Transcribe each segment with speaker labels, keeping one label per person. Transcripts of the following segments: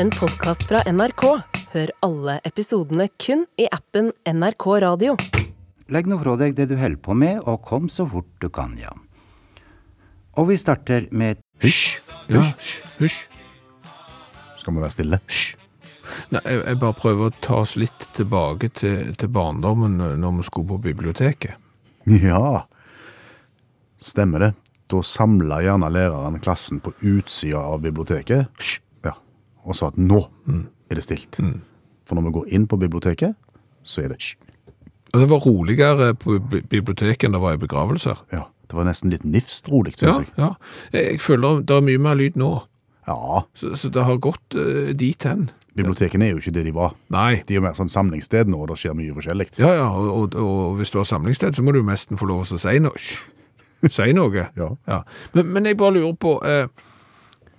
Speaker 1: en podkast fra NRK. Hør alle episodene kun i appen NRK Radio.
Speaker 2: Legg nå fra deg det du holder på med, og kom så fort du kan, ja. Og vi starter med
Speaker 3: Hysj! Hysj! Hysj!
Speaker 4: Skal vi være stille?
Speaker 3: Nei, jeg, jeg bare prøver å ta oss litt tilbake til, til barndommen når vi skulle på biblioteket.
Speaker 4: Ja, stemmer det. Da samla gjerne læreren klassen på utsida av biblioteket ja. og sa at nå
Speaker 3: Mm.
Speaker 4: er det stilt. For når vi går inn på biblioteket, så er det hysj.
Speaker 3: Og det var roligere på bi- biblioteket enn det var i begravelser.
Speaker 4: Ja, det var nesten litt nifst rolig,
Speaker 3: Ja,
Speaker 4: syns jeg.
Speaker 3: ja. Jeg, jeg føler det er mye mer lyd nå,
Speaker 4: Ja,
Speaker 3: så, så det har gått eh, dit hen.
Speaker 4: bibliotekene er jo ikke det de var.
Speaker 3: Nei.
Speaker 4: De er jo mer sånn samlingssted nå, og det skjer mye forskjellig.
Speaker 3: Ja, ja, og, og, og hvis du har samlingssted, så må du jo nesten få lov til å si noe. Si noe.
Speaker 4: Ja.
Speaker 3: Men, men jeg bare lurer på eh,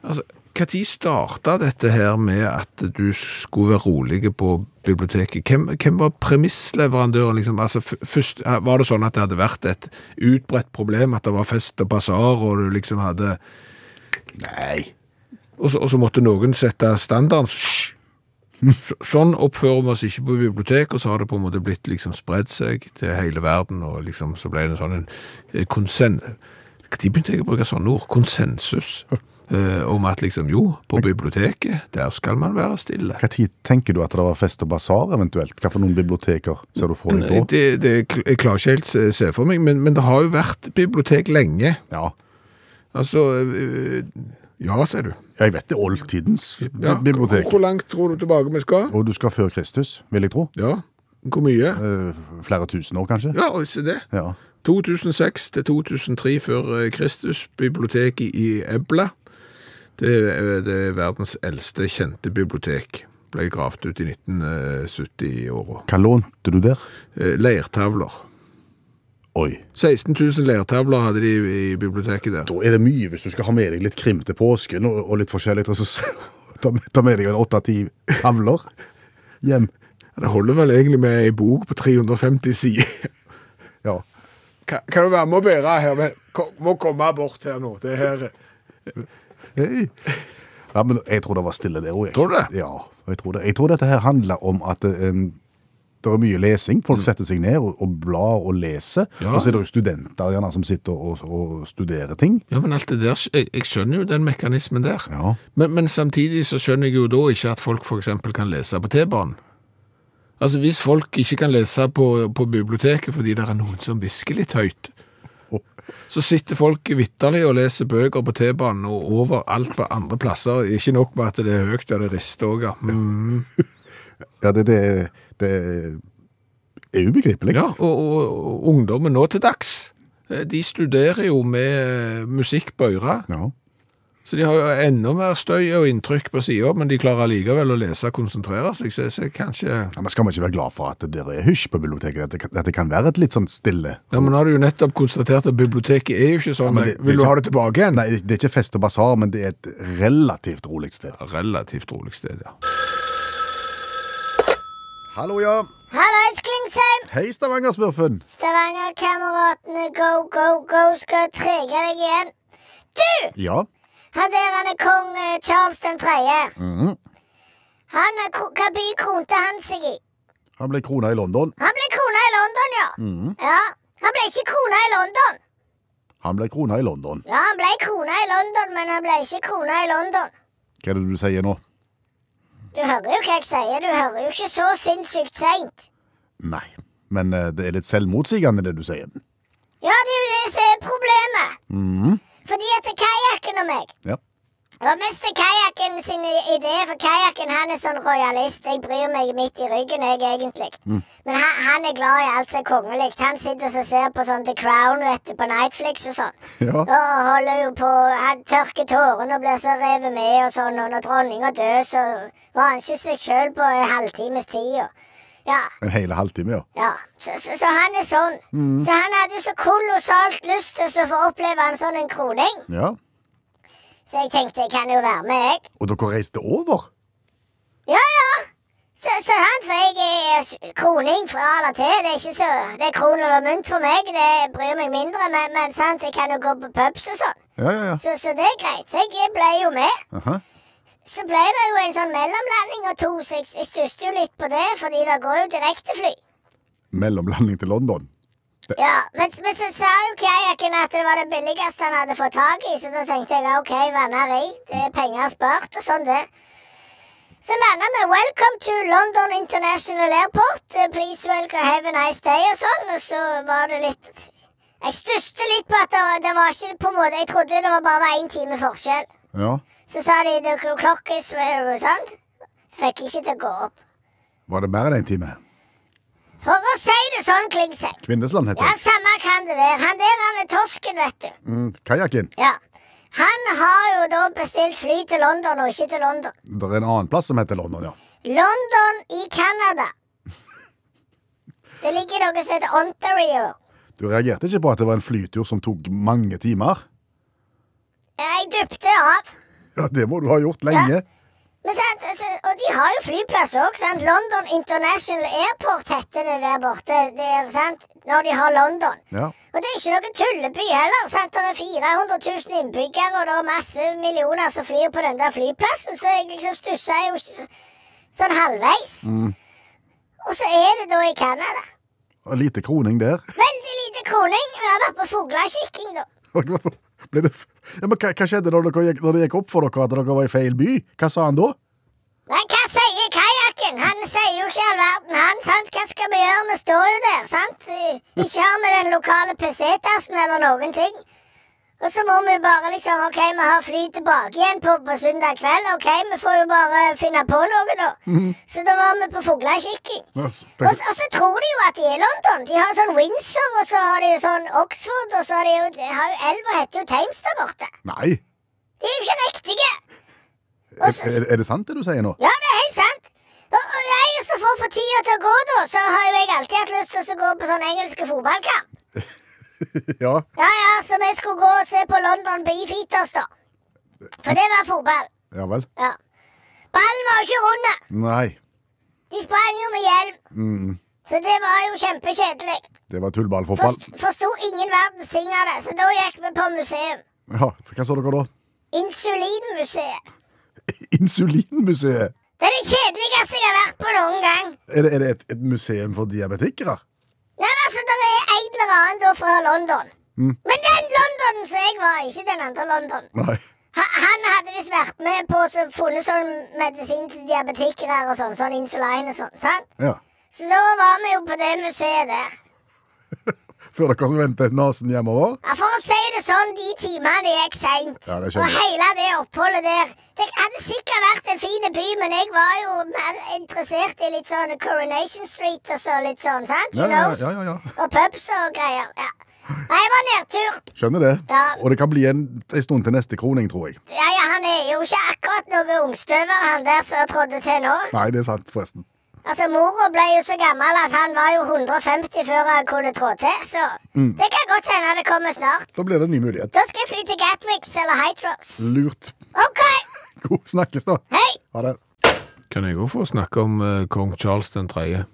Speaker 3: altså, Hva tid starta dette her med at du skulle være rolig på biblioteket? Hvem, hvem var premissleverandøren? liksom? Altså, f- først, eh, Var det sånn at det hadde vært et utbredt problem at det var fest og basar, og du liksom hadde
Speaker 4: Nei.
Speaker 3: og så, og så måtte noen sette standarden. Hysj! Så- Sånn oppfører vi oss ikke på bibliotek, og så har det på en måte blitt liksom spredt seg til hele verden, og liksom så ble det en sånn en eh, konsen... De begynte jeg å bruke sånne ord, konsensus, eh, om at liksom, jo, på biblioteket, der skal man være stille.
Speaker 4: Hva tid tenker du at det var fest og basar eventuelt? Hva for noen biblioteker ser du for deg
Speaker 3: Det,
Speaker 4: da?
Speaker 3: Eh, det, jeg klarer ikke helt se- se for meg, men, men det har jo vært bibliotek lenge.
Speaker 4: Ja,
Speaker 3: Altså, eh, ja, sier du.
Speaker 4: jeg vet det er oldtidens
Speaker 3: Ja.
Speaker 4: bibliotek.
Speaker 3: Hvor langt tror du tilbake vi skal?
Speaker 4: Og du skal før Kristus, vil jeg tro.
Speaker 3: Ja, hvor mye?
Speaker 4: Eh, Flere tusen år, kanskje?
Speaker 3: Ja, og se det.
Speaker 4: Ja.
Speaker 3: 2006 til 2003 før eh, Kristus, biblioteket i Ebla. Det er, det er verdens eldste kjente bibliotek. Ble gravd ut i 1970-åra.
Speaker 4: Hva lånte du der?
Speaker 3: Eh, Leirtavler.
Speaker 4: Oi.
Speaker 3: 16 000 leirtavler hadde de i biblioteket der.
Speaker 4: Da er det mye hvis du skal ha med deg litt krim til påsken og, og litt forskjellig, og så s- ta, med- ta med deg en åtte-ti tavler hjem.
Speaker 3: Det holder vel egentlig med ei bok på 350 sider.
Speaker 4: Ja.
Speaker 3: Kan, kan du være med og bære her? Men kom, må komme bort her nå. Det her
Speaker 4: Hei. Ja, men jeg tror det var stille der òg.
Speaker 3: Tror du det?
Speaker 4: Ja, jeg tror det. Jeg tror dette her handler om at eh, em, det er mye lesing. Folk setter seg ned og, og blar og leser.
Speaker 3: Mm. Ja.
Speaker 4: Og så er det jo studenter gjerne som sitter og, og studerer ting.
Speaker 3: Ja, men alt det der, jeg, jeg skjønner jo den mekanismen der.
Speaker 4: Ja.
Speaker 3: Men, men samtidig så skjønner jeg jo da ikke at folk for eksempel kan lese på T-banen. Altså, hvis folk ikke kan lese på, på biblioteket fordi det er noen som visker litt høyt,
Speaker 4: Å.
Speaker 3: så sitter folk vitterlig og leser bøker på T-banen og overalt på andre plasser. Ikke nok med at det er høyt og det rister også. ja. Mm.
Speaker 4: Ja, det, det, det er ubegripelig.
Speaker 3: Ja, og, og, og ungdommen nå til dags, eh, de studerer jo med eh, musikk på øret.
Speaker 4: Ja.
Speaker 3: Så de har jo enda mer støy og inntrykk på sida, men de klarer likevel å lese og konsentrere seg, så, så kanskje
Speaker 4: Ja, men Skal man ikke være glad for at det er hysj på biblioteket? At det, kan- at det kan være et litt sånn stille
Speaker 3: Ja, men nå har du jo nettopp konstatert at biblioteket er jo ikke sånn.
Speaker 4: men det- det er
Speaker 3: Vil du
Speaker 4: ikke-
Speaker 3: ha det tilbake igjen?
Speaker 4: Nei, det er ikke fest og basar, men det er et relativt rolig sted.
Speaker 3: Relativt rolig sted, ja.
Speaker 4: Hallo, ja.
Speaker 5: Hallais, Klingsheim!
Speaker 4: Hei, Stavanger-smurfen.
Speaker 5: Stavanger-kameratene go, go, go skal trege deg igjen.
Speaker 4: Ja.
Speaker 5: Han der han er kong eh, Charles den tredje.
Speaker 4: Mhm.
Speaker 5: Han er kro- Hva by kronte han seg i?
Speaker 4: Han ble krona i London.
Speaker 5: Han ble krona i London, ja. Ja, Han ble ikke krona i London.
Speaker 4: Han ble krona i London.
Speaker 5: Ja, han ble krona i London, men han ble ikke krona i London.
Speaker 4: Hva er det du sier nå?
Speaker 5: Du hører jo hva jeg sier. Du hører jo ikke så sinnssykt seint.
Speaker 4: Nei. Men eh, det er litt selvmotsigende, det du sier.
Speaker 5: Ja, det er jo det som er problemet. Fordi at kajakken og meg
Speaker 4: Ja.
Speaker 5: Det var mest kajakken sin i- idé, for kajakken han er sånn rojalist. Jeg bryr meg midt i ryggen, jeg egentlig. Men han, han er glad i alt som er kongelig. Han sitter og ser på sånn The Crown vet du, på Netflix og sånn.
Speaker 4: Ja.
Speaker 5: Og holder jo på Han tørker tårene og blir så revet med og sånn. Og når dronninga dør, så var han ikke seg sjøl på en halvtimes tid. Og, ja.
Speaker 4: En hel halvtime, ja.
Speaker 5: Ja, så, så, så han er sånn. Så han hadde jo så kolossalt lyst til å få oppleve en sånn en kroning.
Speaker 4: ja.
Speaker 5: Så jeg tenkte jeg kan jo være med, jeg.
Speaker 4: Og dere reiste over?
Speaker 5: Ja, ja. Så, så sant, for jeg er kroning fra eller til. Det er ikke så, det er kron eller mynt for meg. Det bryr meg mindre, men, men sant, jeg kan jo gå på pubs og sånn.
Speaker 4: Ja, ja, ja.
Speaker 5: Så, så det er greit. Så jeg ble jo med.
Speaker 4: Aha.
Speaker 5: så ble det jo en sånn mellomlanding og to, så jeg, jeg stusser jo litt på det, fordi det går jo direktefly.
Speaker 4: Mellomlanding til London.
Speaker 5: Ja, men, men så sa jo kajakken at det var det billigste han hadde fått tak i, så da tenkte jeg OK, vanneri, det er penger spart, og sånn det. Så landa vi 'Welcome to London International Airport', eh, 'Please welcome, have a nice day' og sånn, og så var det litt Jeg stusset litt på at det var, det var ikke på en måte Jeg trodde det var bare var én time forskjell.
Speaker 4: Ja.
Speaker 5: Så sa de 'the clock is where' og sånn. Så fikk jeg ikke til å gå opp.
Speaker 4: Var det mer enn en time?
Speaker 5: For å si det sånn, Klingsheim.
Speaker 4: Kvinnesland heter
Speaker 5: Ja,
Speaker 4: det.
Speaker 5: samme kan det være. Han der han er torsken, vet du.
Speaker 4: Mm, Kajakken.
Speaker 5: Ja. Han har jo da bestilt fly til London, og ikke til London.
Speaker 4: Det er en annen plass som heter London, ja.
Speaker 5: London i Canada. Det ligger noe som heter Ontario.
Speaker 4: Du reagerte ikke på at det var en flytur som tok mange timer?
Speaker 5: Jeg dupte av.
Speaker 4: Ja, det må du ha gjort lenge.
Speaker 5: Men sant, altså, og de har jo flyplass òg. London International Airport heter det der borte. Der, sant? Når de har London.
Speaker 4: Ja.
Speaker 5: Og det er ikke noen tulleby heller. sant? Det er 400 000 innbyggere, og det er masse millioner som flyr på den der flyplassen, så jeg liksom stussa jo s- sånn halvveis. Og så er det da i Canada.
Speaker 4: Og lite kroning der.
Speaker 5: Veldig lite kroning. Vi har vært på fuglekikking, da.
Speaker 4: Ble det f- ja, men hva, hva skjedde når, dere gikk, når det gikk opp for dere at dere var i feil by? Hva sa han da?
Speaker 5: Nei, hva sier kajakken? Han sier jo ikke all verden, han. sant? Hva skal vi gjøre? Vi står jo der, sant? Eh, Ikke har vi den lokale PC-tassen eller noen ting. Og så må vi jo bare liksom OK, vi har fly tilbake igjen på, på søndag kveld. OK, vi får jo bare finne på noe, da. Så da var vi på fuglekikking.
Speaker 4: Ja, s-
Speaker 5: Og, s- og så tror de jo at de er i London. De har sånn Windsor, og så har de jo sånn Oxford, og så har de jo, de har jo elva heter jo Thames der borte.
Speaker 4: Nei.
Speaker 5: De er jo ikke riktige.
Speaker 4: Er, er, er det sant det du sier nå?
Speaker 5: Ja, det er helt sant. Og, og jeg som får for tida til å gå, da, så har jo jeg alltid hatt lyst til å gå på sånn engelske fotballkamp.
Speaker 4: Ja.
Speaker 5: Ja, ja, så vi skulle gå og se på London Beefeaters, da. For det var fotball.
Speaker 4: Ja vel.
Speaker 5: Ja. Ballen var jo ikke rund.
Speaker 4: Nei.
Speaker 5: De sprang jo med hjelm. Så det var jo kjempekjedelig.
Speaker 4: Det var
Speaker 5: For,
Speaker 4: tullballfotball.
Speaker 5: Forsto ingen verdens ting av det, så da gikk vi på museum.
Speaker 4: Ja, hva så dere da?
Speaker 5: Insulinmuseet.
Speaker 4: Insulinmuseet.
Speaker 5: Det er det kjedeligste jeg har vært på noen gang.
Speaker 4: Er det, er det et, et museum for diabetikere?
Speaker 5: Nei, men altså, det er en eller annen da fra London.
Speaker 4: Mm.
Speaker 5: Men den Londonen som jeg var, ikke den andre London.
Speaker 4: Nei.
Speaker 5: Ha, han hadde visst vært med på å funnet sånn medisin til diabetikere og sånn, sånn insulin og sånn, sant?
Speaker 4: Ja.
Speaker 5: Så da var vi jo på det museet der.
Speaker 4: Før dere som vendte nesen hjemover?
Speaker 5: Ja, For å si det sånn, de timene det gikk seint.
Speaker 4: Ja, det skjønner
Speaker 5: og
Speaker 4: jeg.
Speaker 5: hele det oppholdet der. Det hadde sikkert vært en fin by, men jeg var jo mer interessert i litt sånn Coronation Street og så litt sånn, sant?
Speaker 4: Ja, ja,
Speaker 5: Knows.
Speaker 4: ja, ja, ja.
Speaker 5: Og pubs og greier. ja. Nei, det var nedtur.
Speaker 4: Skjønner det.
Speaker 5: Ja.
Speaker 4: Og det kan bli en, en stund til neste kroning, tror jeg.
Speaker 5: Ja, ja, Han er jo ikke akkurat noe ungstøver, han der som trådte til nå.
Speaker 4: Nei, det er sant, forresten.
Speaker 5: Altså, Mora ble jo så gammel at han var jo 150 før han kunne trå til, så det kan godt hende det kommer snart.
Speaker 4: Da blir det en ny mulighet.
Speaker 5: Da skal jeg fly til Gatwigs eller Hydros.
Speaker 4: Lurt.
Speaker 5: OK,
Speaker 4: God snakkes, da.
Speaker 5: hei!
Speaker 4: Ha det.
Speaker 3: Kan jeg òg få snakke om eh, kong Charles den tredje?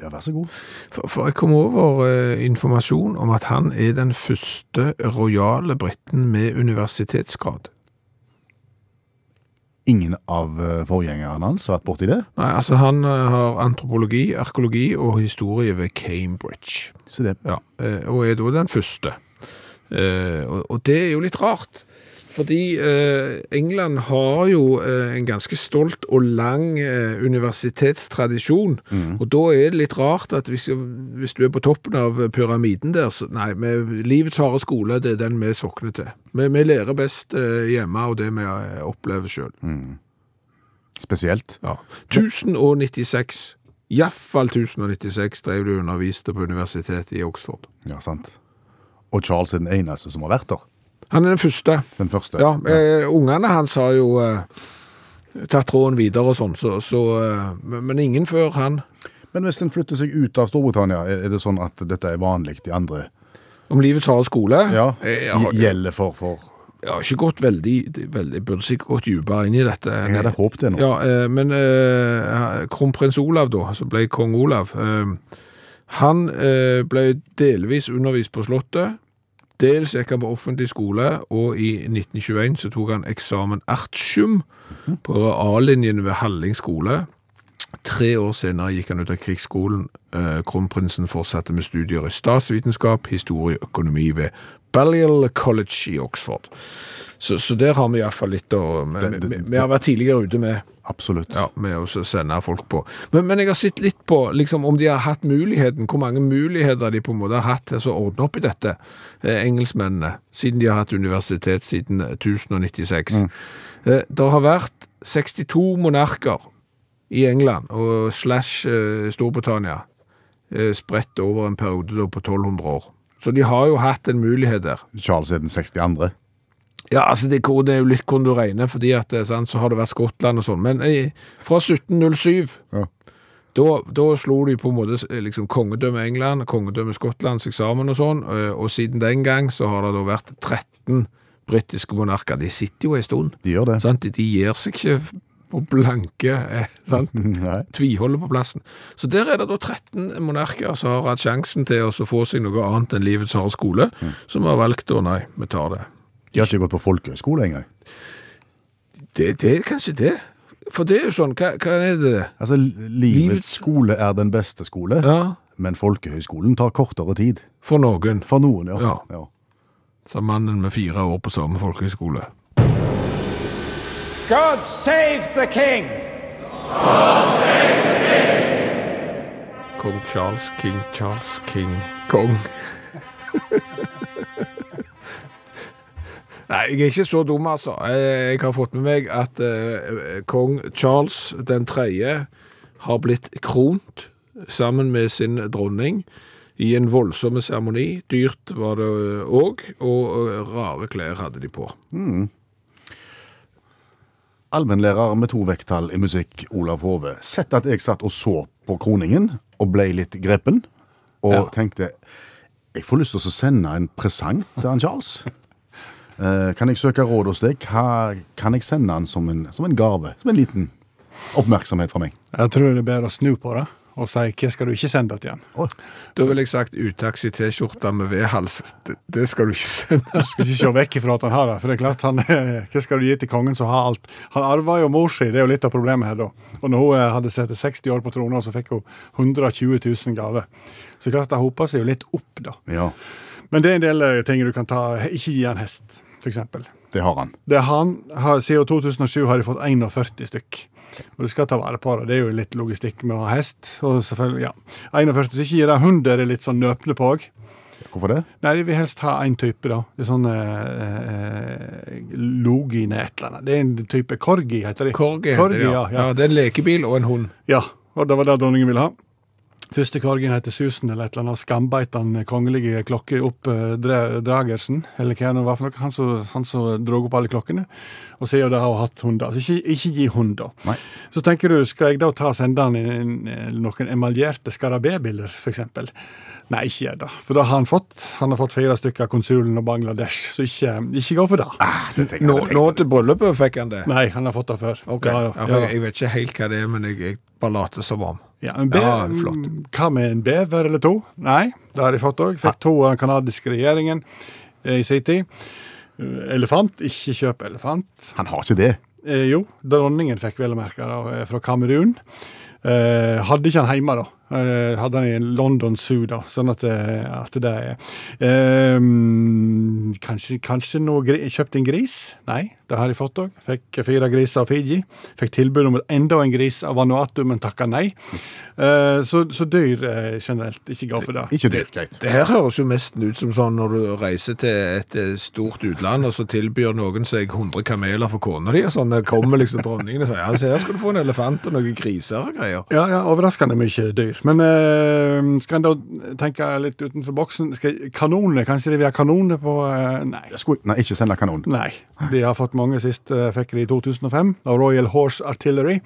Speaker 4: Ja, vær så god.
Speaker 3: For, for jeg kom over eh, informasjon om at han er den første rojale briten med universitetsgrad.
Speaker 4: Ingen av eh, forgjengerne hans har vært borti det.
Speaker 3: Nei, altså Han eh, har antropologi, arkeologi og historie ved Cambridge.
Speaker 4: Så det
Speaker 3: Ja, eh, Og er da den første. Eh, Og og det er jo litt rart. Fordi eh, England har jo eh, en ganske stolt og lang eh, universitetstradisjon. Og da er det litt rart at hvis, hvis du er på toppen av pyramiden der så, Nei, vi- livets harde skole, det er den vi sokner til. Vi, vi lærer best eh, hjemme, og det vi eh, opplever sjøl.
Speaker 4: Spesielt.
Speaker 3: Ja. 1096. Iallfall 1096 drev du og underviste på universitetet i Oxford.
Speaker 4: Ja, sant. Og Charles er den eneste som har vært der.
Speaker 3: Han er den første.
Speaker 4: Den første.
Speaker 3: Ja, eh, Ungene hans har jo eh, tatt tråden videre og sånn, så, så, eh, men men ingen før han.
Speaker 4: Men hvis en flytter seg ut av Storbritannia, er er det sånn at dette er vanlig i andre
Speaker 3: Om livets harde skole
Speaker 4: Ja,
Speaker 3: eh, jeg, har,
Speaker 4: gjelder for, for
Speaker 3: jeg har ikke gått veldig, veldig Burde sikkert gått dypere inn i dette.
Speaker 4: Jeg hadde håpet det nå.
Speaker 3: Ja, eh, men eh, kronprins Olav da, som ble kong Olav, eh, han eh, ble delvis undervist på slottet, Dels gikk han på offentlig skole, og i 1921 så tok han eksamen artium på A-linjen ved Halling skole. Tre år senere gikk han ut av krigsskolen. Eh, Kronprinsen fortsatte med studier i statsvitenskap, historie og økonomi ved Balliol College i Oxford. Så, så der har vi iallfall litt å vi,
Speaker 4: Det- det-
Speaker 3: vi, vi har vært tidligere ute med
Speaker 4: Absolutt.
Speaker 3: ja, med å sende folk på. Men, men jeg har sett litt på liksom, om de har hatt muligheten, hvor mange muligheter de på en måte har hatt til å ordne opp i dette, eh, engelskmennene, siden de har hatt universitet siden eh, 1096. Eh, det har vært 62 monarker i England og slash eh, Storbritannia eh, spredt over en periode da, på 1200 år. Så de har jo hatt en mulighet der.
Speaker 4: Charles er den 62.
Speaker 3: Ja, altså det, det er jo litt hvordan du regner, fordi at eh, sant, så har det vært Skottland og sånn. Men eh, fra 1707
Speaker 4: Ja.
Speaker 3: da, da slo de på en måte eh, liksom, kongedømmet England, kongedømmet Skottland seg sammen og sånn, eh, og siden den gang så har det da vært 13 britiske monarker. De sitter jo en stund,
Speaker 4: De gjør det.
Speaker 3: sant? De- De gir seg ikke på blanke, eh, sant?
Speaker 4: Nei.
Speaker 3: Tviholder på plassen. Så der er det da 13 monarker som har hatt sjansen til å så få seg noe annet enn livets harde skole,
Speaker 4: Mm.
Speaker 3: som har valgt å nei, vi tar det.
Speaker 4: De har ikke gått på folkehøyskole engang.
Speaker 3: Det, det er kanskje det. For det er jo sånn, hva, hva er det?
Speaker 4: Altså, li- livets
Speaker 3: Livets-
Speaker 4: skole er den beste skole,
Speaker 3: Ja,
Speaker 4: men folkehøyskolen tar kortere tid.
Speaker 3: for noen.
Speaker 4: For noen, ja.
Speaker 3: Ja. Sa mannen med fire år på samme folkehøyskole.
Speaker 6: God save the king!
Speaker 3: Kong Charles, King Charles, King Kong. Nei, jeg er ikke så dum, altså. Jeg, jeg har fått med meg at eh, kong Charles den tredje har blitt kront sammen med sin dronning i en voldsom seremoni. Dyrt var det òg, og eh, rare klær hadde de på.
Speaker 4: Allmennlærer med to vekttall i musikk, Olav Hove. Sett at jeg satt og så på kroningen, og ble litt greppen, og
Speaker 3: Ja.
Speaker 4: tenkte jeg får lyst til å sende en presang til han Charles. Eh, kan jeg søke råd hos deg? Hva kan jeg sende han som en, som en gave? Som en liten oppmerksomhet fra meg?
Speaker 7: Jeg tror det er bedre å snu på det og si hva skal du ikke sende til han?
Speaker 3: Da ville jeg sagt utaxi T-skjorte med V-hals. Det, det skal du ikke sende.
Speaker 7: Du skal ikke se vekk ifra at han har det. For det er klart, han, hva skal du gi til kongen som har alt? Han arva jo mor si, det er jo litt av problemet her, da. Og når hun eh, hadde sittet 60 år på trona, så fikk hun 120 000 gaver. Så det er klart, det hopa seg jo litt opp, da.
Speaker 4: Ja,
Speaker 7: Men det er en del eh, ting du kan ta. Ikke gi han hest, f.eks.
Speaker 4: det har han.
Speaker 7: Det er han, har, Siden 2007 har de fått 41 stykk. Og du skal ta vare på det. Det er jo litt logistikk med å ha hest. Og selvfølgelig, ja. 41 stykker gir det. Hund er det litt sånn nøpne på òg.
Speaker 4: Hvorfor det?
Speaker 7: Nei, de vil helst ha én type, da. Det er sånn eh, eh, Logine et eller annet. Det er en type corgi, heter de.
Speaker 3: Korgi heter det, ja.
Speaker 7: ja.
Speaker 3: ja. Det er en lekebil og en hund.
Speaker 7: Ja, og det var det dronningen ville ha. Første korgen heter Susan eller et eller annet, skambeit han kongelige klokke opp eh, Dra- Dragersen, eller hva det nå var for noe, han som, han som dro opp alle klokkene, og sier jo det har hatt hunder. Så ikke, ikke gi hund, da.
Speaker 4: Nei.
Speaker 7: Så tenker du, skal jeg da ta og sende han en, en, noen emaljerte skarabébiller, f.eks.? Nei, ikke gjør det. For det har han fått. Han har fått fire stykker av konsulen og Bangladesh, så ikke, ikke gå for det.
Speaker 3: Nå, nå til bryllupet fikk han det.
Speaker 7: Nei, han har fått det før.
Speaker 3: Ok,
Speaker 7: Ja, ja,
Speaker 3: Ja, for
Speaker 7: ja.
Speaker 3: jeg, jeg vet ikke helt hva det er, men jeg, jeg bare later som om.
Speaker 7: Ja, en be mm,
Speaker 3: Ja, flott.
Speaker 7: Hva med en bever eller to? Nei, det har de fått òg.
Speaker 3: Ah.
Speaker 7: Fikk to av den kanadiske regjeringen eh, i sin tid. Eh, Elefant. Ikke kjøp elefant.
Speaker 4: Han har ikke det.
Speaker 7: Eh, jo, dronningen fikk vel å merke det, eh, fra Kamerun. Eh, hadde ikke han hjemme, da. Eh, hadde han i en London Zoo, da. Sånn at, eh, at det er eh, Kanskje, kanskje noe gri kjøpt en gris? Nei, det har jeg fått òg. Fikk fire griser av Fiji. Fikk tilbud om enda en gris av Vanuatu, men takka nei. Eh, så, så dyr eh, generelt. Ikke gå for det.
Speaker 4: Ikke dyrt, greit.
Speaker 3: Det her høres jo mest ut som sånn når du reiser til et eh, stort utland, og så tilbyr noen seg 100 kameler for kona di, og sånn eh, kommer liksom dronningen og sier ja, se her skal du få en elefant og noen griser og greier.
Speaker 7: Ja, ja, overraskende mye dyr. Men eh, skal en da tenke litt utenfor boksen? Skal, kanoner, kanskje de vil ha kanoner på eh, Nei.
Speaker 4: Jeg skulle, nei, ikke sende kanon.
Speaker 7: Nei. De har fått mange sist. eh, Fikk de i 2005 av Royal Horse Artillery.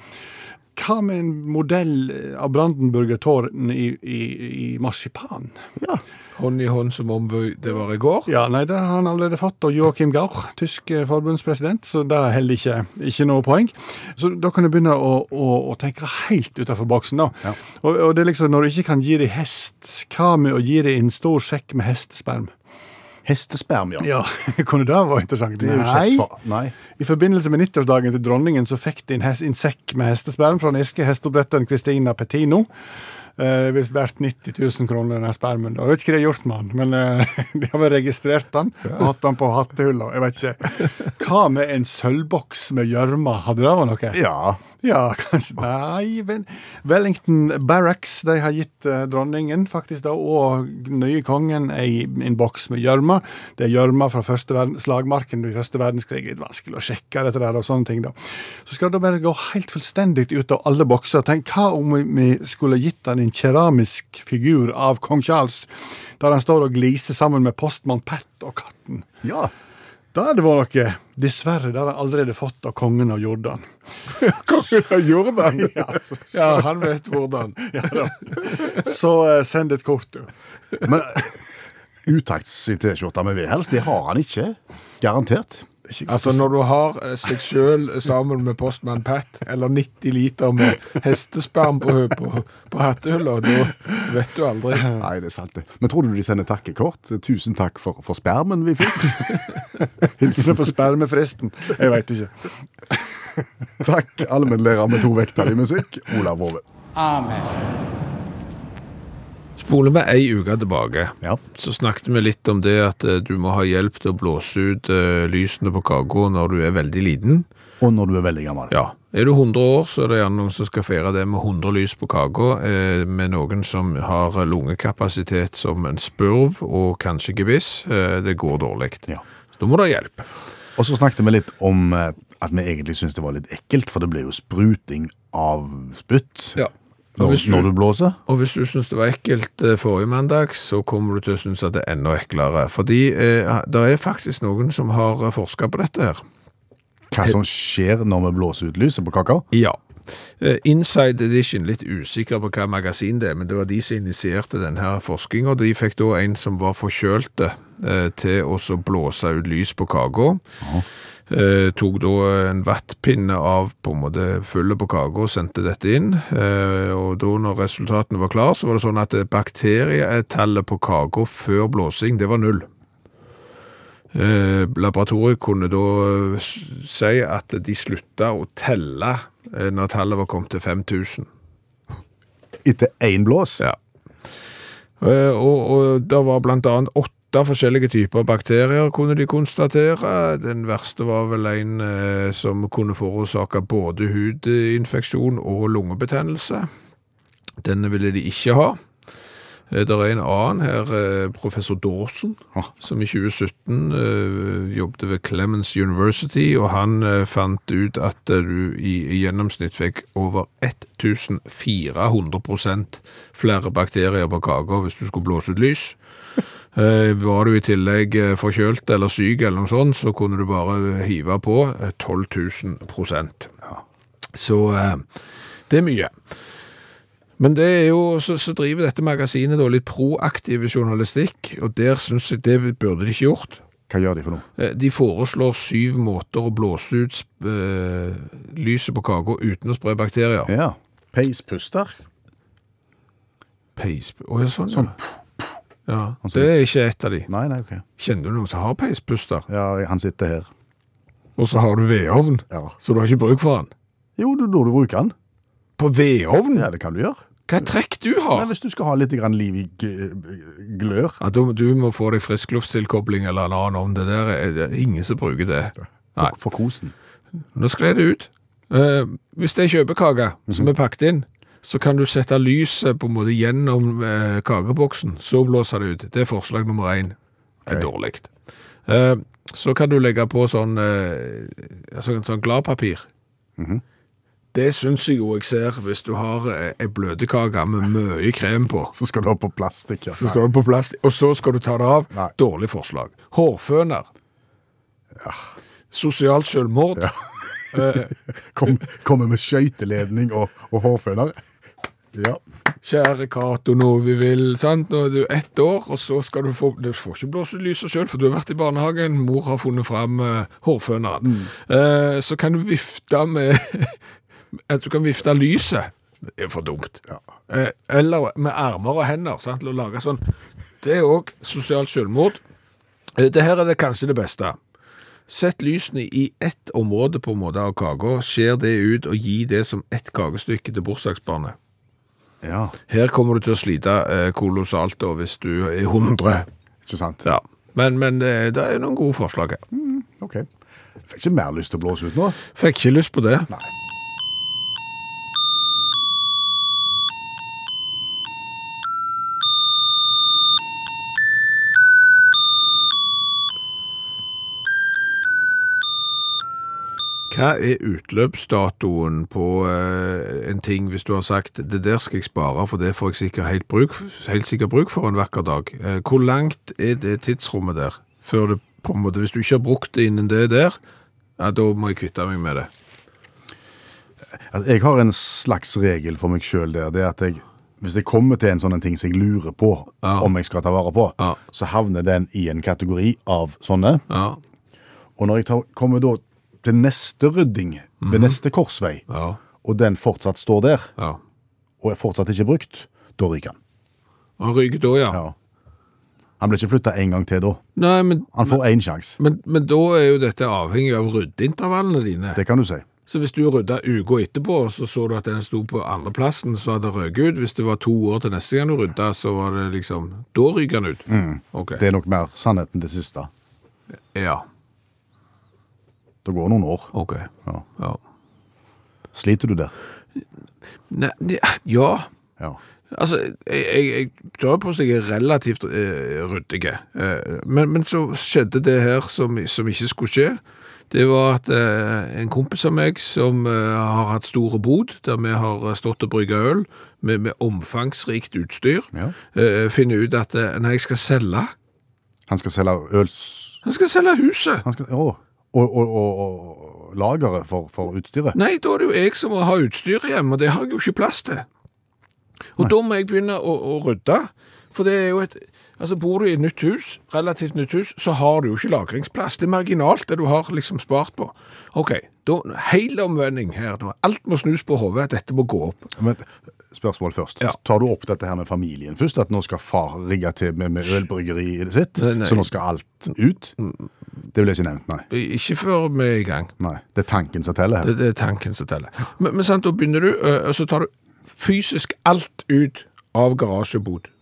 Speaker 7: Hva med en modell av Brandenburger-tårn i, i, i marsipan?
Speaker 3: Hånd i hånd som om det var i går.
Speaker 7: Ja, nei, det har han allerede fått av Joachim Gahr, tysk eh, forbundspresident, så det er heller ikke, ikke noe poeng. Så da kan du begynne å, å, å tenke helt utenfor boksen, da. Og, og det er liksom, når du ikke kan gi dem hest, hva med å gi dem en stor sekk med hestesperm?
Speaker 4: Hestesperm, ja.
Speaker 7: Ja, kunne det vært interessant?
Speaker 4: Det er jo kjekt for Nei.
Speaker 7: I forbindelse med 90-årsdagen til dronningen så fikk de en, hest, en sekk med hestesperm fra den irske hesteoppdretteren Christina Petino. Eh, hvis verdt 90 000 kroner, den her spermen. da. Jeg vet ikke hva de har gjort med den, men eh, de har vel registrert den og hatt den på hattehylla. Jeg vet ikke. Hva med en sølvboks med gjørme? Hadde det vært noe?
Speaker 4: Ja.
Speaker 7: Ja, kanskje Nei, vel, Wellington Barracks de har gitt eh, dronningen faktisk da, og nye kongen ei, en boks med gjørme. Det er gjørme fra første verden, slagmarken i første verdenskrig. Litt vanskelig å sjekke dette der og sånne ting. da. Så skal det bare gå helt fullstendig ut av alle bokser. Tenk, Hva om vi- vi skulle gitt han en keramisk figur av kong Charles, der han står og gliser sammen med postmann Pat og katten?
Speaker 4: ja.
Speaker 7: Det hadde vært noe. Dessverre, det har han allerede fått av kongen av Jordan. kongen av Jordan? ja, ja, han vet hvordan. ja, da. Så eh, send et kort, du.
Speaker 4: Men utakts i T-skjorta med V-hels, det har han ikke. Garantert.
Speaker 3: Altså Når du har eh, seg sjøl sammen med postmann Pat, eller 90 liter med hestesperm på, på, på hattehylla, da vet du aldri.
Speaker 4: Nei, det er sant det. Men tror du de sender takkekort? Tusen takk for, for spermen vi fikk.
Speaker 7: Hilsen på spermefristen. Jeg veit ikke.
Speaker 4: Takk, allmennlærer med to vekter i musikk, Olav Hove.
Speaker 6: Amen.
Speaker 3: Spoler vi ei uke tilbake,
Speaker 4: Ja.
Speaker 3: så snakket vi litt om det at eh, du må ha hjelp til å blåse ut eh, lysene på kaka når du er veldig liten.
Speaker 4: Og når du er veldig gammel.
Speaker 3: Ja. Er du 100 år, så er det gjerne noen som skal feire det med 100 lys på kaka, eh, med noen som har lungekapasitet som en spurv og kanskje gebiss. Eh, det går dårlig.
Speaker 4: Ja.
Speaker 3: Da må det hjelpe.
Speaker 4: Og så snakket vi litt om eh, at vi egentlig syntes det var litt ekkelt, for det ble jo spruting av spytt
Speaker 3: Ja. Og
Speaker 4: når,
Speaker 3: hvis,
Speaker 4: når
Speaker 3: du,
Speaker 4: du blåser.
Speaker 3: og hvis du syns det var ekkelt eh, forrige mandag, så kommer du til å synes at det er enda eklere. Fordi eh, det er faktisk noen som har forska på dette her.
Speaker 4: Hva som skjer når vi blåser ut lyset på kakao?
Speaker 3: Ja. Eh, Inside Edition, litt usikker på hva magasin det er, men det var de som initierte denne forskningen, og de fikk da en som var forkjølte eh, til å så blåse ut lys på kaka. Eh, tok da en vattpinne av på en måte fyllet på kaka og sendte dette inn. Eh, og da når resultatene var klar, så var det sånn at eh, bakterietallet på kaka før blåsing, det var null. Eh, laboratoriet kunne da eh, s- si at de slutta å telle eh, når tallet var kommet til 5000.
Speaker 4: Etter én blås?
Speaker 3: Ja. Eh, og, og det var blant annet åtte forskjellige typer bakterier kunne de konstatere. Den verste var vel en eh, som kunne forårsake både hudinfeksjon og lungebetennelse. Denne ville de ikke ha. Eh, Det er en annen her, eh, professor Dawson,
Speaker 4: Ah.
Speaker 3: som i 2017 eh, jobbet ved Clemens University, og han eh, fant ut at eh, du i, i gjennomsnitt fikk over 1400 flere bakterier på kaka hvis du skulle blåse ut lys. Eh, Var du i tillegg eh, forkjølt eller syk eller noe sånt, så kunne du bare hive på eh, 12 000 Så eh, det er mye. Men det er jo, så, så driver dette magasinet da litt proaktiv journalistikk, og der synes jeg det burde de ikke gjort.
Speaker 4: Hva gjør de for noe?
Speaker 3: Eh, De foreslår syv måter å blåse ut eh, lyset på kaka uten å spre bakterier.
Speaker 4: Ja. Peispuster.
Speaker 3: Peis... Å, ja, sånn, ja. ja. Det er ikke et av de.
Speaker 4: Nei, nei, ok.
Speaker 3: Kjenner du noen som har peispuster?
Speaker 4: Ja, han sitter her.
Speaker 3: Og så har du vedovn,
Speaker 4: Ja.
Speaker 3: så du har ikke bruk for den.
Speaker 4: Jo, du, da du bruker han.
Speaker 3: På vedovn?
Speaker 4: Ja, det kan du gjøre.
Speaker 3: Hva trekk du
Speaker 4: Men
Speaker 3: har?
Speaker 4: hvis du skal ha litt grann liv i g- glør
Speaker 3: Ja, du, du må få deg friskluftstilkobling eller en annen ovn. Det der er det er ingen som bruker det. Nei.
Speaker 4: for, for kosen
Speaker 3: Nå skled det ut. Eh, hvis det er kjøpekake som er pakket inn, så kan du sette lyset på en måte gjennom eh, kakeboksen. Så blåser det ut. Det er forslag nummer én. Det er dårlig. Eh, så kan du legge på sånn, eh, altså, sånn gladpapir. Det syns jeg jo jeg ser hvis du har eh, ei bløtkake med mye krem på.
Speaker 4: Så skal du ha på plastikk. Ja.
Speaker 3: Så skal du på plast, og så skal du ta det av.
Speaker 4: Nei.
Speaker 3: Dårlig forslag. Hårføner. Sosialt selvmord.
Speaker 4: Kom, kommer med skøyteledning og, og hårføner. Ja.
Speaker 3: Kjære Cato, nå vi vil sant? Nå er du ett år, og så skal du få Du får ikke blåse ut lyset sjøl, for du har vært i barnehagen. Mor har funnet fram eh, hårføneren. Eh, så kan du vifte med At du kan vifte lyset. Det er for dumt. Eh, eller med armer og hender. Sant? Å lage sånn. Det er òg sosialt selvmord. Eh, Det her er det kanskje det beste. Sett lysene i ett område på en måte av kaka, skjer det ut og gi det som ett kakestykke til bursdagsbarnet.
Speaker 4: Ja,
Speaker 3: Her kommer du til å slite eh, kolossalt da, hvis du er 100.
Speaker 4: ikke sant?
Speaker 3: Ja. Men, men eh, det er noen gode forslag her.
Speaker 4: Ok. Jeg fikk ikke mer lyst til å blåse ut nå.
Speaker 3: Fikk ikke lyst på det. Hva er utløpsdatoen på eh, en ting hvis du har sagt det der skal jeg spare, for det får jeg sikkert helt, bruk, helt sikkert bruk for en vakker dag? Eh, hvor langt er det tidsrommet der? Før det, på en måte, hvis du ikke har brukt det innen det der, ja, da må jeg kvitte meg med det.
Speaker 4: Altså, jeg har en slags regel for meg sjøl der. Det er at jeg, hvis jeg kommer til en sånn en ting som jeg lurer på om jeg skal ta vare på,
Speaker 3: Ja.
Speaker 4: så havner den i en kategori av sånne.
Speaker 3: Ja,
Speaker 4: Og når jeg tar, kommer da til neste rydding, ved neste korsvei,
Speaker 3: Mhm. ja,
Speaker 4: og den fortsatt står der,
Speaker 3: ja.
Speaker 4: og er fortsatt ikke brukt, da ryker han.
Speaker 3: Han ryker da, ja.
Speaker 4: Ja. Han blir ikke flytta en gang til da.
Speaker 3: Nei, men,
Speaker 4: Han får én sjanse.
Speaker 3: men, men da er jo dette avhengig av ryddeintervallene dine.
Speaker 4: Det kan du si.
Speaker 3: Så hvis du rydda uka etterpå, så så du at den sto på andreplassen, så hadde det røket ut. Hvis det var to år til neste gang du rydda, så var det liksom Da ryker den ut. Ok.
Speaker 4: Mm. Det er nok mer sannheten det siste.
Speaker 3: Ja.
Speaker 4: Det går noen år.
Speaker 3: Ok.
Speaker 4: Ja.
Speaker 3: Ja.
Speaker 4: Sliter du der?
Speaker 3: Nei, ne- ja.
Speaker 4: Ja.
Speaker 3: Altså, jeg, jeg, jeg tør påstå jeg er relativt eh, ryddig. Eh, men, men så skjedde det her som, som ikke skulle skje. Det var at eh, en kompis av meg som eh, har hatt store bod, der vi har eh, stått og brygga øl med, med omfangsrikt utstyr,
Speaker 4: Ja.
Speaker 3: eh, finner ut at eh, nei, jeg skal selge.
Speaker 4: Han skal selge øls...
Speaker 3: Han skal selge huset.
Speaker 4: Han skal, å, og, og, og, og lageret for, for utstyret.
Speaker 3: Nei, da er det jo jeg som må ha utstyret hjemme, og det har jeg jo ikke plass til. Og da må jeg begynne å, å rydde, for det er jo et Altså, Bor du i et nytt hus, relativt nytt hus, så har du jo ikke lagringsplass. Det er marginalt, det du har liksom spart på. OK, da hel omvending her nå. Alt må snus på hodet. Dette må gå opp.
Speaker 4: Men spørsmål først.
Speaker 3: Ja.
Speaker 4: Tar du opp dette her med familien først? At nå skal far rigge til med, med ølbryggeriet sitt?
Speaker 3: Nei, Mm. nei.
Speaker 4: Så nå skal alt ut? Det vil jeg ikke nevnt, nei.
Speaker 3: Ikke før vi er i gang.
Speaker 4: nei. Det er tanken som teller her.
Speaker 3: Det, det er tanken som teller. Men, men sant, da begynner du, ø, og så tar du fysisk alt ut av garasjebod.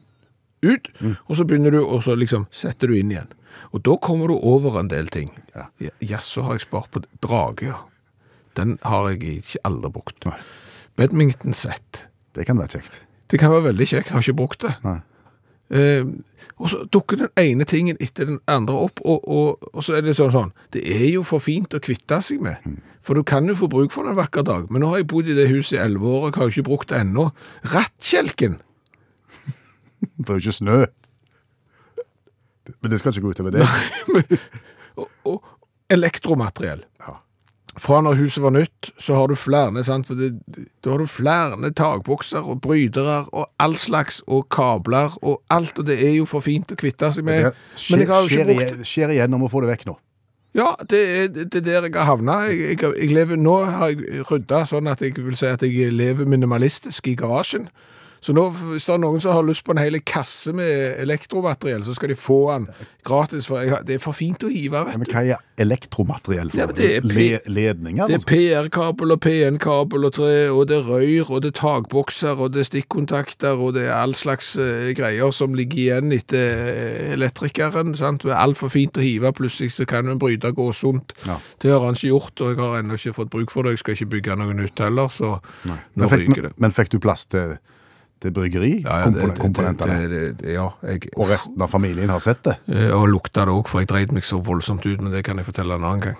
Speaker 3: Ut, og så begynner du, og så liksom setter du inn igjen. Og da kommer du over en del ting.
Speaker 4: Ja.
Speaker 3: Ja, ja, så har jeg spart på drage, ja. Den har jeg ikke aldri brukt. Badminton sett.
Speaker 4: Det kan være kjekt.
Speaker 3: Det kan være veldig kjekt, har ikke brukt det.
Speaker 4: Nei.
Speaker 3: Eh, og så dukker den ene tingen etter den andre opp, og, og, og så er det sånn sånn Det er jo for fint å kvitte seg med,
Speaker 4: Mm.
Speaker 3: for du kan jo få bruk for den en vakker dag. Men nå har jeg bodd i det huset i elleve år, og jeg har jo ikke brukt det ennå. Rattkjelken!
Speaker 4: Det er jo ikke snø. Men det skal ikke gå utover det.
Speaker 3: Og, og elektromateriell.
Speaker 4: Ja.
Speaker 3: Fra når huset var nytt, så har du flere, sant? For det, da har du flere takbokser og brytere og all slags, og kabler og alt, og det er jo for fint å kvitte seg
Speaker 4: Det
Speaker 3: med.
Speaker 4: her skjer, skjer, igjen, skjer igjen om å få det vekk nå.
Speaker 3: Ja, det er det er der jeg har havna. Jeg, jeg, jeg lever, nå har jeg rydda sånn at jeg vil si at jeg lever minimalistisk i garasjen. Så nå, hvis det er noen som har lyst på en hel kasse med elektromateriell, så skal de få den gratis. For jeg, har- det er for fint å hive,
Speaker 4: Ja,
Speaker 3: vet
Speaker 4: men
Speaker 3: du.
Speaker 4: hva er elektromateriell for?
Speaker 3: Ja, men det er
Speaker 4: Le
Speaker 3: pi-
Speaker 4: ledninger?
Speaker 3: Det er
Speaker 4: altså?
Speaker 3: PR-kabel og PN-kabel og tre, og det er røyr, og det er takbokser, og det er stikkontakter, og det er all slags eh, greier som ligger igjen etter eh, elektrikeren. sant? Det er altfor fint å hive, plutselig så kan en bryter gå sunt.
Speaker 4: Ja.
Speaker 3: Det har han ikke gjort, og jeg har ennå ikke fått bruk for det. Jeg skal ikke bygge noe nytt heller, så nå
Speaker 4: Men fikk,
Speaker 3: ryker det.
Speaker 4: men fikk du plass til, til bryggeri?
Speaker 3: Ja, ja, det-
Speaker 4: Kompon-
Speaker 3: det-
Speaker 4: komponentene?
Speaker 3: det- det- det- Ja, jeg...
Speaker 4: Og resten av familien har sett det.
Speaker 3: eh, Og lukta det òg, for jeg dreit meg så voldsomt ut, men det kan jeg fortelle en annen gang.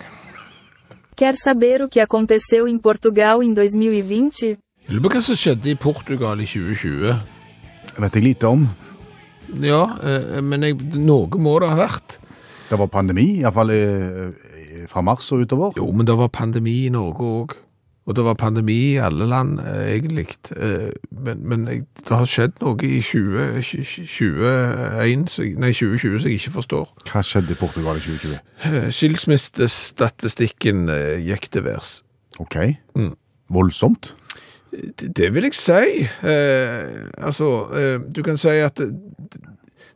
Speaker 8: Quer saber o que aconteceu em Portugal em 2020?
Speaker 3: Jeg Lurer på hva som skjedde i Portugal i 2020.
Speaker 4: Vet jeg lite om.
Speaker 3: Ja, eh, men jeg, noe må det ha vært.
Speaker 4: Det var pandemi, iallfall eh, fra mars og utover.
Speaker 3: Jo, men det var pandemi i Norge òg. Og det var pandemi i alle land, eh, egentlig. Eh, Men, men jeg, det har skjedd noe i 20, 21, så jeg- nei, 2020 som jeg ikke forstår.
Speaker 4: Hva skjedde i Portugal i 2020?
Speaker 3: Eh, Skilsmissestatistikken eh, gikk til værs.
Speaker 4: Ok.
Speaker 3: Mm.
Speaker 4: Voldsomt.
Speaker 3: Det, det vil jeg si. Eh, altså, eh, du kan si at det,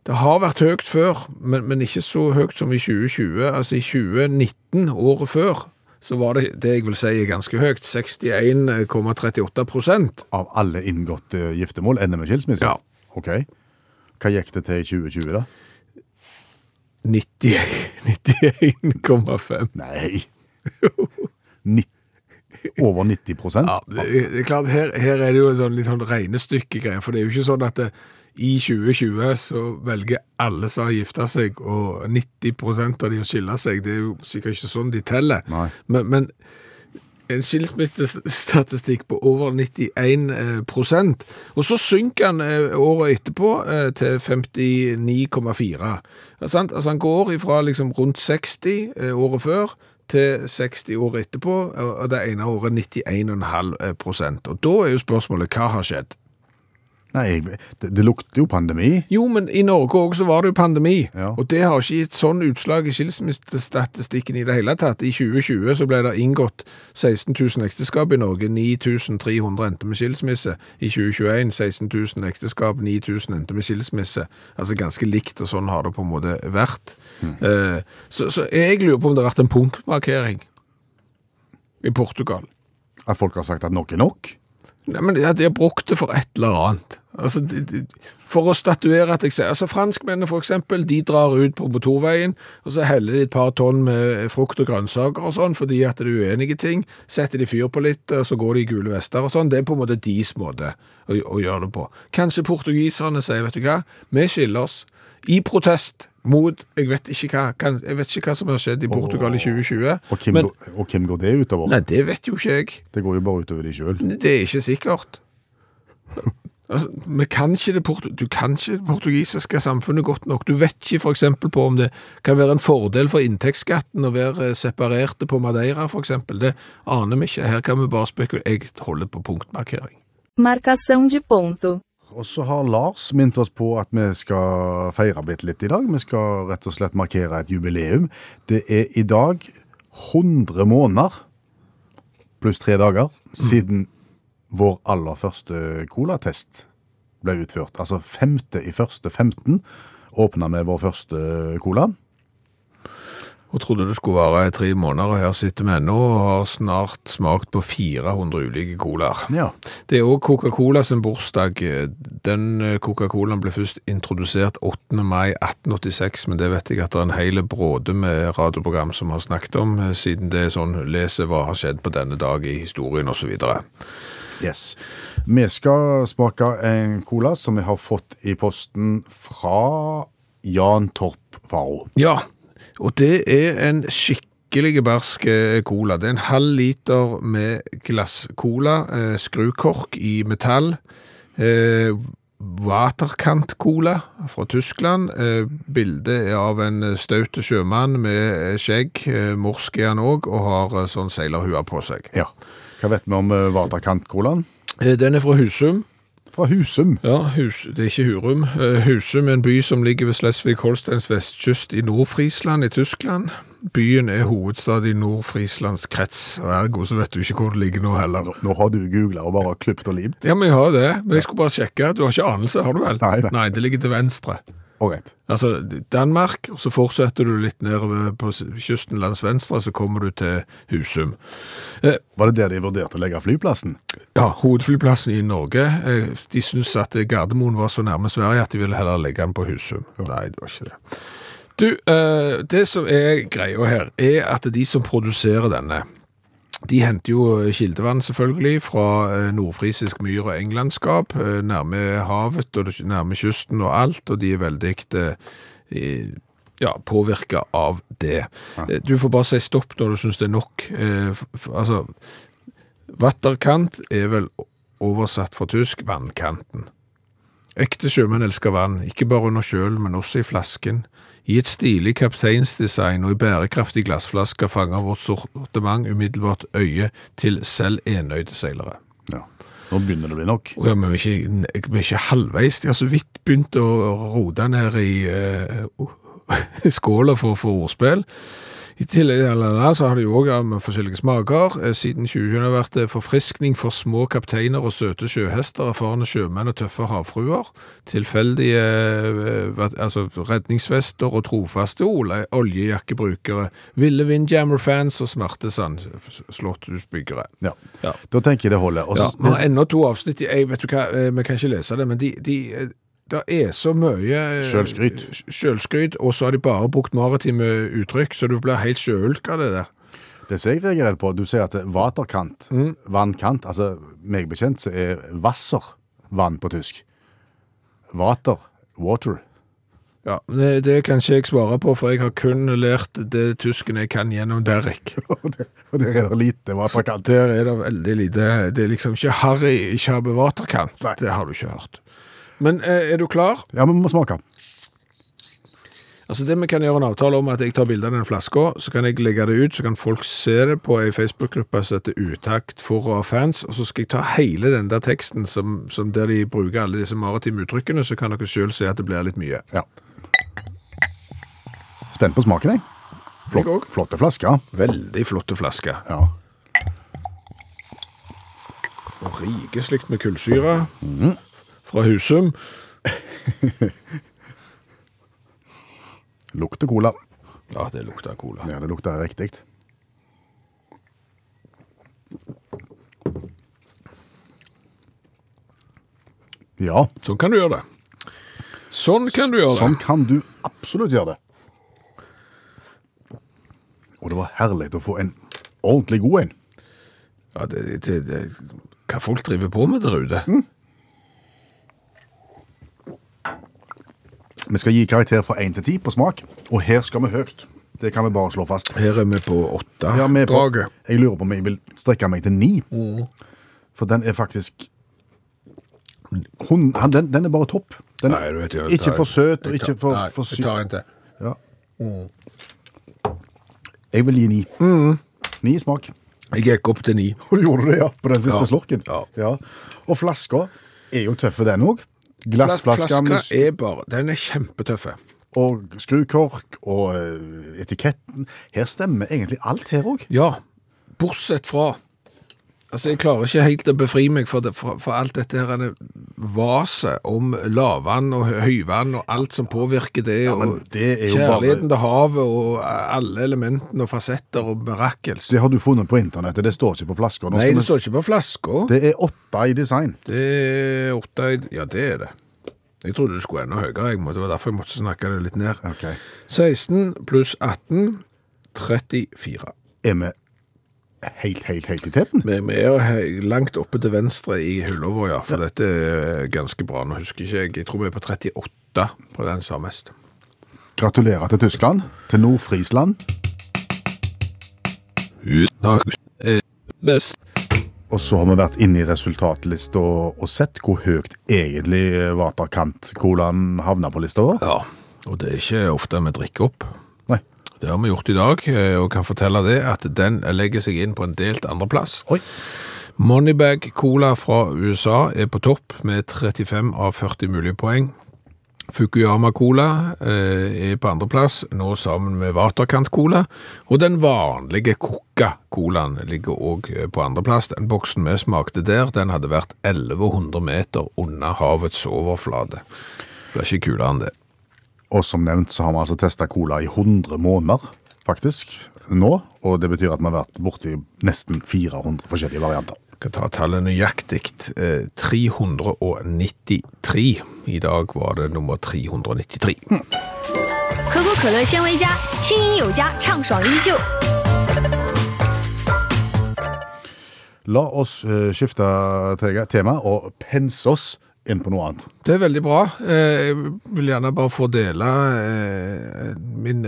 Speaker 3: Det har vært høyt før, men, men ikke så høyt som i 2020. Altså i 2019, året før, så var det det jeg vil si er ganske høyt. 61,38 prosent.
Speaker 4: Av alle inngåtte eh, giftermål ender med skilsmisse?
Speaker 3: Ja.
Speaker 4: Ok. Hva gikk det til i 2020, da?
Speaker 3: 91,5.
Speaker 4: Nei! Nitt- over 90 prosent?
Speaker 3: Ja, det det er klart, her, her er det jo en sånn, litt sånn regnestykkegreie, for det er jo ikke sånn at det, i 2020 så velger alle som har gifta seg, og 90 av de å skille seg. Det er jo sikkert ikke sånn de teller.
Speaker 4: Nei.
Speaker 3: Men, men en skilsmissestatistikk på over 91 eh, prosent. Og så synker han eh, året etterpå eh, til 59,4. Ja, sant? Altså han går ifra liksom rundt 60 eh, året før til 60 året etterpå, og og det ene året 91,5 eh, prosent. Og da er jo spørsmålet hva har skjedd?
Speaker 4: Ah, Nei, jeg, det, det lukter jo pandemi.
Speaker 3: Jo, men i Norge òg så var det jo pandemi,
Speaker 4: Ja.
Speaker 3: og det har ikke gitt sånn utslag i skilsmissestatistikken i det hele tatt. I 2020 så ble det inngått 16 000 ekteskap i Norge, 9300 endte med skilsmisse. I 2021 16 000 ekteskap, 9000 endte med skilsmisse. Altså ganske likt, og sånn har det på en måte vært. Eh, så, så jeg lurer på om det har vært en punktmarkering i Portugal.
Speaker 4: At folk har sagt at nok er nok?
Speaker 3: Nei, men de, de har brukt det for et eller annet. Altså, de, de, for å statuere at jeg sier altså, Franskmennene, for eksempel, de drar ut på motorveien, og så heller de et par tonn med frukt og grønnsaker og sånn, fordi at det er uenige ting. Setter de fyr på litt, og så går de i gule vester og sånn. Det er på en måte deres måte å, å gjøre det på. Kanskje portugiserne sier, vet du hva, vi skiller oss i protest mot Jeg vet ikke hva, kan, jeg vet ikke hva som har skjedd i Portugal i 2020.
Speaker 4: Og hvem,
Speaker 3: men,
Speaker 4: går, og hvem går det utover?
Speaker 3: nei, det vet jo ikke jeg.
Speaker 4: Det går jo bare utover de sjøl.
Speaker 3: Det er ikke sikkert. Altså, vi kan ikke det portu- du kan ikke det portugisiske samfunnet godt nok. Du vet ikke for eksempel på om det kan være en fordel for inntektsskatten å være eh, separerte på Madeira for eksempel. Det aner vi ikke. Her kan vi bare spekulere. Jeg holder på punktmarkering.
Speaker 8: Marcação de ponto.
Speaker 4: Og så har Lars minnet oss på at vi skal feire bitte litt i dag. Vi skal rett og slett markere et jubileum. Det er i dag 100 måneder pluss tre dager siden vår aller første colatest ble utført. Altså 5. i første 15 åpna vi vår første cola.
Speaker 3: Og trodde det skulle være tre måneder, og her sitter vi ennå og har snart smakt på 400 ulike colaer.
Speaker 4: Ja.
Speaker 3: Det er òg Coca-Cola sin bursdag. Den eh, Coca-Colaen ble først introdusert 8. mai 1886, men det vet jeg at det er en hel bråde med radioprogram som har snakket om, eh, siden det er sånn leser hva har skjedd på denne dag i historien osv.
Speaker 4: Yes. Vi skal smake en cola som vi har fått i posten fra Jan Torp Faro.
Speaker 3: Ja, og det er en skikkelig barsk eh, cola. Det er en halv liter med glasscola, eh, skrukork i metall. Eh, Waterkant-cola fra Tyskland. Eh, bildet er av en eh, staute sjømann med eh, skjegg. Eh, morsk er han òg, og har eh, sånn seilerhue på seg.
Speaker 4: Ja. Hva vet vi om eh, Vaterkant-colaen?
Speaker 3: Eh, den er fra Husum.
Speaker 4: Fra Husum.
Speaker 3: Ja, hus, det er ikke Hurum. Eh, Husum er en by som ligger ved Slesvig-Holsteins vestkyst i Nord-Friesland i Tyskland. Byen er hovedstad i Nord-Frieslands krets, og ergo så vet du ikke hvor det ligger nå heller.
Speaker 4: Nå, nå har du googla og bare klippet og limt.
Speaker 3: Ja, men jeg har jo det, men jeg skulle bare sjekke. Du har ikke anelse, har du vel?
Speaker 4: Nei, nei.
Speaker 3: nei det ligger til venstre.
Speaker 4: Ålreit.
Speaker 3: Altså Danmark, og så fortsetter du litt nedover på s- kysten langs venstre, så kommer du til Husum.
Speaker 4: Var det der de vurderte å legge flyplassen?
Speaker 3: Ja, hovedflyplassen i Norge, eh, de syntes at Gardermoen var så nærme Sverige at de ville heller legge den på Husum. Nei, det var ikke det. Du, eh, det som er greia her, er at de som produserer denne, de henter jo eh, kildevann selvfølgelig fra eh, nordfrisisk myr og englandskap, eh, nærme havet og det- nærme kysten og alt, og de er veldig eh, i- ja, påvirka av det. Eh, Du får bare si stopp når du syns det er nok. Eh, f- f- altså, Vatterkant er vel oversatt fra tysk vannkanten. Ekte sjømenn elsker vann, ikke bare under kjølen, men også i flasken. I et stilig kapteinsdesign og i bærekraftig glassflasker fanger vårt sortiment umiddelbart øyet til selv enøyde seilere.
Speaker 4: Ja. Nå begynner det å bli nok.
Speaker 3: Å ja, men vi er, ikke, vi er ikke halvveis. De har så vidt begynt å rote ned i eh, skåla for å få ordspill. I tillegg til LLA så har de òg med forskjellige smaker. Eh, Siden 2020 har det vært eh, forfriskning for små kapteiner og søte sjøhester, erfarne sjømenn og tøffe havfruer. Tilfeldige eh, vet- altså redningsvester og trofaste ole- oljejakkebrukere. Ville Windjammer-fans og smarte sandslåtthusbyggere.
Speaker 4: Ja. Da tenker jeg det holder. Og
Speaker 3: Ja,
Speaker 4: så-
Speaker 3: vi har ennå to avsnitt. i- Jeg vet du hva, eh, vi kan ikke lese det, men de, de eh, det er så mye eh,
Speaker 4: Selvskryt.
Speaker 3: sj- Selvskryt, og så har de bare brukt maritime uttrykk, så du blir helt sjøulk av det der.
Speaker 4: Det som jeg reagerer på, du sier at det er vaterkant,
Speaker 3: Mm.
Speaker 4: vannkant, altså meg bekjent så er vasser vann på tysk. Vater, water.
Speaker 3: Ja, det, det kan ikke jeg svare på, for jeg har kun lært det tysken jeg kan gjennom Derek.
Speaker 4: Og der og der er det lite vaterkant.
Speaker 3: Der er det veldig lite Det er liksom ikke Harry ikke har bevaterkant.
Speaker 4: Nei.
Speaker 3: Det har du ikke hørt. Men eh, er du klar?
Speaker 4: Ja, men vi må smake.
Speaker 3: Altså det Vi kan gjøre en avtale om at jeg tar bilde av den flaska, så kan jeg legge det ut, så kan folk se det på ei Facebook-gruppe som heter Utakt for og av fans, og så skal jeg ta hele den der teksten som, som der de bruker alle disse maritime uttrykkene, så kan dere sjøl se at det blir litt mye.
Speaker 4: Ja. Spent på smaken, jeg.
Speaker 3: Jeg
Speaker 4: Flott,
Speaker 3: også.
Speaker 4: flotte flasker.
Speaker 3: Veldig flotte flasker.
Speaker 4: Ja.
Speaker 3: Og rikeslikt med kullsyre fra Husum.
Speaker 4: Lukter cola.
Speaker 3: Ja, det lukter cola.
Speaker 4: Ja, det lukter riktig. Ja,
Speaker 3: Sånn kan du gjøre det. Sånn kan du gjøre det.
Speaker 4: sånn kan du absolutt gjøre det. Og det var herlig å få en ordentlig god en.
Speaker 3: Ja, det, det, det, hva folk driver på med der ute.
Speaker 4: Vi skal gi karakter fra 1 til 10 på smak, og her skal vi høyt. Det kan vi bare slå fast.
Speaker 3: Her er vi på åtte.
Speaker 4: Ja, vi er på,
Speaker 3: Draget.
Speaker 4: jeg lurer på om jeg vil strekke meg til 9,
Speaker 3: Mm.
Speaker 4: for den er faktisk hun, han, den, den er bare topp. Den er
Speaker 3: Nei, du vet jo, jeg
Speaker 4: ikke
Speaker 3: tar-
Speaker 4: for søt og
Speaker 3: jeg
Speaker 4: ikke
Speaker 3: tar-
Speaker 4: for,
Speaker 3: Nei,
Speaker 4: for
Speaker 3: Jeg
Speaker 4: syk.
Speaker 3: tar Mm. en til.
Speaker 4: Ja. Jeg vil gi ni.
Speaker 3: Mm.
Speaker 4: Ni i smak.
Speaker 3: Jeg gikk opp til ni.
Speaker 4: Og du gjorde det, ja, på den siste
Speaker 3: Ja.
Speaker 4: slurken.
Speaker 3: Ja.
Speaker 4: Og flaska er jo tøffe, den òg. Glassflaska med
Speaker 3: Flaska er bare Den er kjempetøffe.
Speaker 4: s- og skrukork og eh, etiketten. Her stemmer egentlig alt her òg.
Speaker 3: Ja. Bortsett fra Altså, jeg klarer ikke helt å befri meg for, det, for, for alt dette her denne vaset om lavvann og hø- høyvann og alt som påvirker det,
Speaker 4: men
Speaker 3: og
Speaker 4: det er jo
Speaker 3: kjærligheten til havet og alle elementene og fasetter og mirakels.
Speaker 4: Det har du funnet på internettet, det står ikke på flaska. Nå
Speaker 3: Nei,
Speaker 4: skal
Speaker 3: det
Speaker 4: vi-
Speaker 3: står ikke på flaska.
Speaker 4: det er åtte i design.
Speaker 3: Det er åtte i- Ja, det er det. Jeg trodde det skulle enda høyere. Jeg måtte, det var derfor jeg måtte snakke det litt ned.
Speaker 4: Ok.
Speaker 3: 16 pluss 18 34.
Speaker 4: Er vi helt, helt, helt i teten?
Speaker 3: Vi vi er he- langt oppe til venstre i hylla vår, ja. For dette er ganske bra. Nå husker ikke jeg. Jeg tror vi er på 38 på den som har mest.
Speaker 4: Gratulerer til Tyskland, til Nord-Frisland.
Speaker 3: Best.
Speaker 4: Og så har vi vært inne i resultatlista og, og sett hvor høyt egentlig eh, Vaterkant-colaen havna på lista vår.
Speaker 3: Ja. Og det er ikke ofte vi drikker opp.
Speaker 4: Nei.
Speaker 3: Det har vi gjort i dag, eh, og kan fortelle det at den legger seg inn på en delt andreplass.
Speaker 4: Oi.
Speaker 3: Moneybag Cola fra USA er på topp med 35 av 40 mulige poeng. Fukuyama Cola eh, er på andreplass, nå sammen med Waterkant Cola. Og den vanlige Coca Colaen ligger òg på andreplass. Den boksen vi smakte der, den hadde vært 1100 meter under havets overflate. Det blir ikke kulere enn det.
Speaker 4: Og som nevnt så har vi altså testa cola i 100 måneder, faktisk, nå. Og det betyr at vi har vært borti nesten 400 forskjellige varianter.
Speaker 3: skal ta tallet nøyaktig. Eh, 393. I dag var det nummer 393.
Speaker 9: 可口可乐纤维加，轻盈有加，畅爽依旧。
Speaker 4: La oss eh, skifte te- tema og pense oss inn på noe annet.
Speaker 3: Det er veldig bra. Eh, Jeg vil gjerne bare få dele eh, min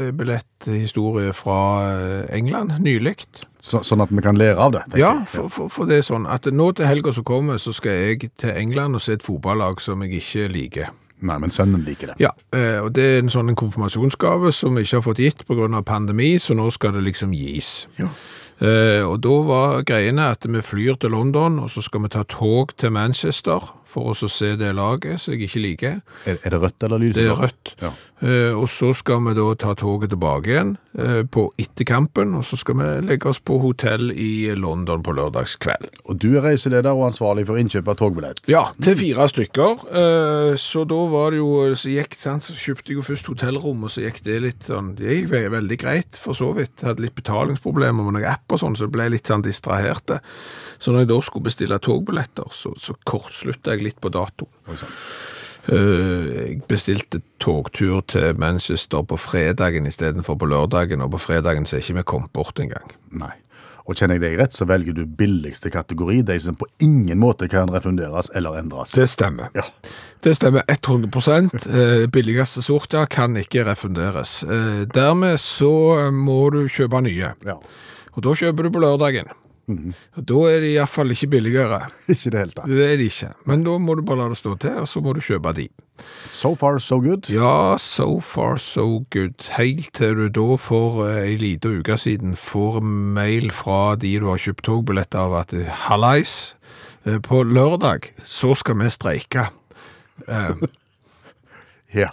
Speaker 3: togkjøpebilletthistorie fra eh, England nylig.
Speaker 4: Så, sånn at vi kan lære av det. tenker
Speaker 3: Ja,
Speaker 4: jeg.
Speaker 3: for, for, for det er sånn at nå til helga som kommer, så skal jeg til England og se et fotballag som jeg ikke liker.
Speaker 4: Nei, men sønnen liker det.
Speaker 3: Ja, eh, og det er en sånn en konfirmasjonsgave som vi ikke har fått gitt pga. pandemi, så nå skal det liksom gis. Eh, og da var greiene at vi flyr til London, og så skal vi ta tog til Manchester for oss å se det laget som jeg ikke liker.
Speaker 4: Er, er det rødt eller lyseblått?
Speaker 3: Det er rødt.
Speaker 4: Ja.
Speaker 3: Eh, og så skal vi da ta toget tilbake igjen eh, på etterkampen, og så skal vi legge oss på hotell i London på lørdagskveld.
Speaker 4: Og du er reiseleder og ansvarlig for innkjøp av togbillett.
Speaker 3: Ja, til fire stykker. Eh, Så da var det jo Så gikk sant, så kjøpte jeg jo først hotellrom, og så gikk det litt sånn Det gikk ve- veldig greit, for så vidt. Hadde litt betalingsproblemer med noen app og sånn, så ble jeg litt sånn distraherte. Så når jeg da skulle bestille togbilletter, så, så kortslutta jeg litt på dato. Eh, Jeg bestilte togtur til Manchester på fredagen istedenfor på lørdagen, og på fredagen så er ikke vi kommet bort engang.
Speaker 4: Nei. Og kjenner jeg deg rett, så velger du billigste kategori, de som på ingen måte kan refunderes eller endres.
Speaker 3: Det stemmer. Det stemmer 100 eh, Billigste sorter kan ikke refunderes. Eh, Dermed så eh, må du kjøpe nye.
Speaker 4: Ja,
Speaker 3: Og da kjøper du på lørdagen. Og Da er de iallfall ikke billigere.
Speaker 4: ikke i det hele tatt.
Speaker 3: Det er de ikke. Men da må du bare la det stå til, og så må du kjøpe de.
Speaker 4: So far, so good.
Speaker 3: Ja, so far so good. Helt til du da for eh, ei lita uke siden får mail fra de du har kjøpt togbillett av at eh, hallais, eh, på lørdag så skal vi streike.
Speaker 4: Ja.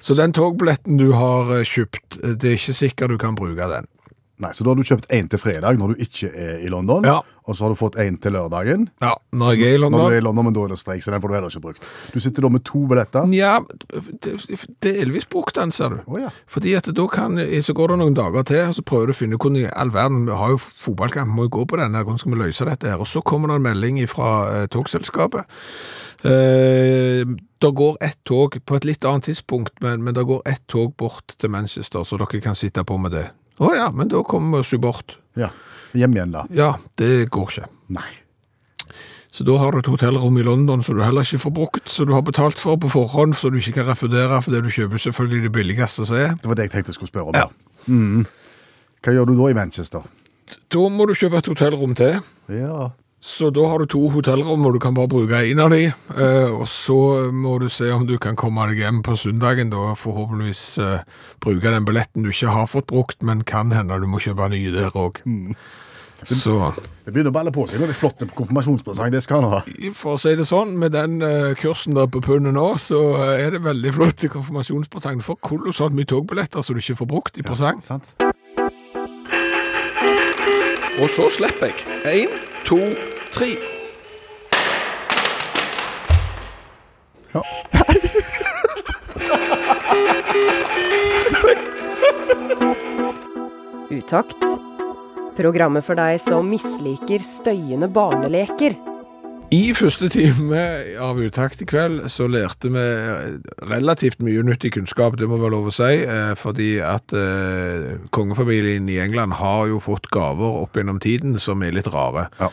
Speaker 3: Så den togbilletten du har eh, kjøpt, eh, det er ikke sikkert du kan bruke den.
Speaker 4: Nei, så da har du kjøpt en til fredag når du ikke er i London,
Speaker 3: Ja.
Speaker 4: og så har du fått en til lørdagen.
Speaker 3: Ja, når jeg er i
Speaker 4: Når du er
Speaker 3: London.
Speaker 4: i London, men da er det streik, så den får du heller ikke brukt. Du sitter da med to billetter.
Speaker 3: Ja, det det er Elvis brukt den, ser du.
Speaker 4: Å ja.
Speaker 3: Fordi at da kan, eh, så går det noen dager til, og så prøver du å finne hvordan i all verden, vi har jo fotballkamp, vi må jo gå på denne, hvordan skal vi løse dette her? Og så kommer det en melding fra eh, togselskapet. Eh, det går ett tog på et litt annet tidspunkt, men, men det går ett tog bort til Manchester, så dere kan sitte på med det. Å ja, men da kommer vi oss jo bort.
Speaker 4: Ja. Hjem igjen, da.
Speaker 3: Ja, det går ikke.
Speaker 4: Nei.
Speaker 3: Så da har du et hotellrom i London som du heller ikke får brukt, som du har betalt for på forhånd, så du ikke kan refundere fordi du kjøper selvfølgelig det billigste som er.
Speaker 4: Det var det jeg tenkte jeg skulle spørre om.
Speaker 3: Ja.
Speaker 4: Mm. Hva gjør du da i Manchester?
Speaker 3: Da må du kjøpe et hotellrom til,
Speaker 4: Ja.
Speaker 3: så da har du to hotellrom, og du kan bare bruke en av de. Eh, og så må du se om du kan komme deg hjem på søndagen, da forhåpentligvis eh, bruke den billetten du ikke har fått brukt, men kan hende du må kjøpe ny der òg. Så
Speaker 4: Det begynner å balle på seg med de flotte konfirmasjonspresang. Det skal han ha.
Speaker 3: for å si det sånn, med den eh, kursen der på pundet nå, så eh, er det veldig flott i konfirmasjonspresang. Du får kolossalt mye togbilletter som du ikke får brukt i presang.
Speaker 4: Sant?
Speaker 3: Og så slipper jeg. Én, to, tre.
Speaker 1: Utakt. Programmet for deg som misliker støyende barneleker.
Speaker 3: I første time av Utakt i kveld så lærte vi relativt mye nyttig kunnskap, det må være lov å si, eh, fordi at eh, kongefamilien i England har jo fått gaver opp gjennom tiden som er litt rare.
Speaker 4: Ja.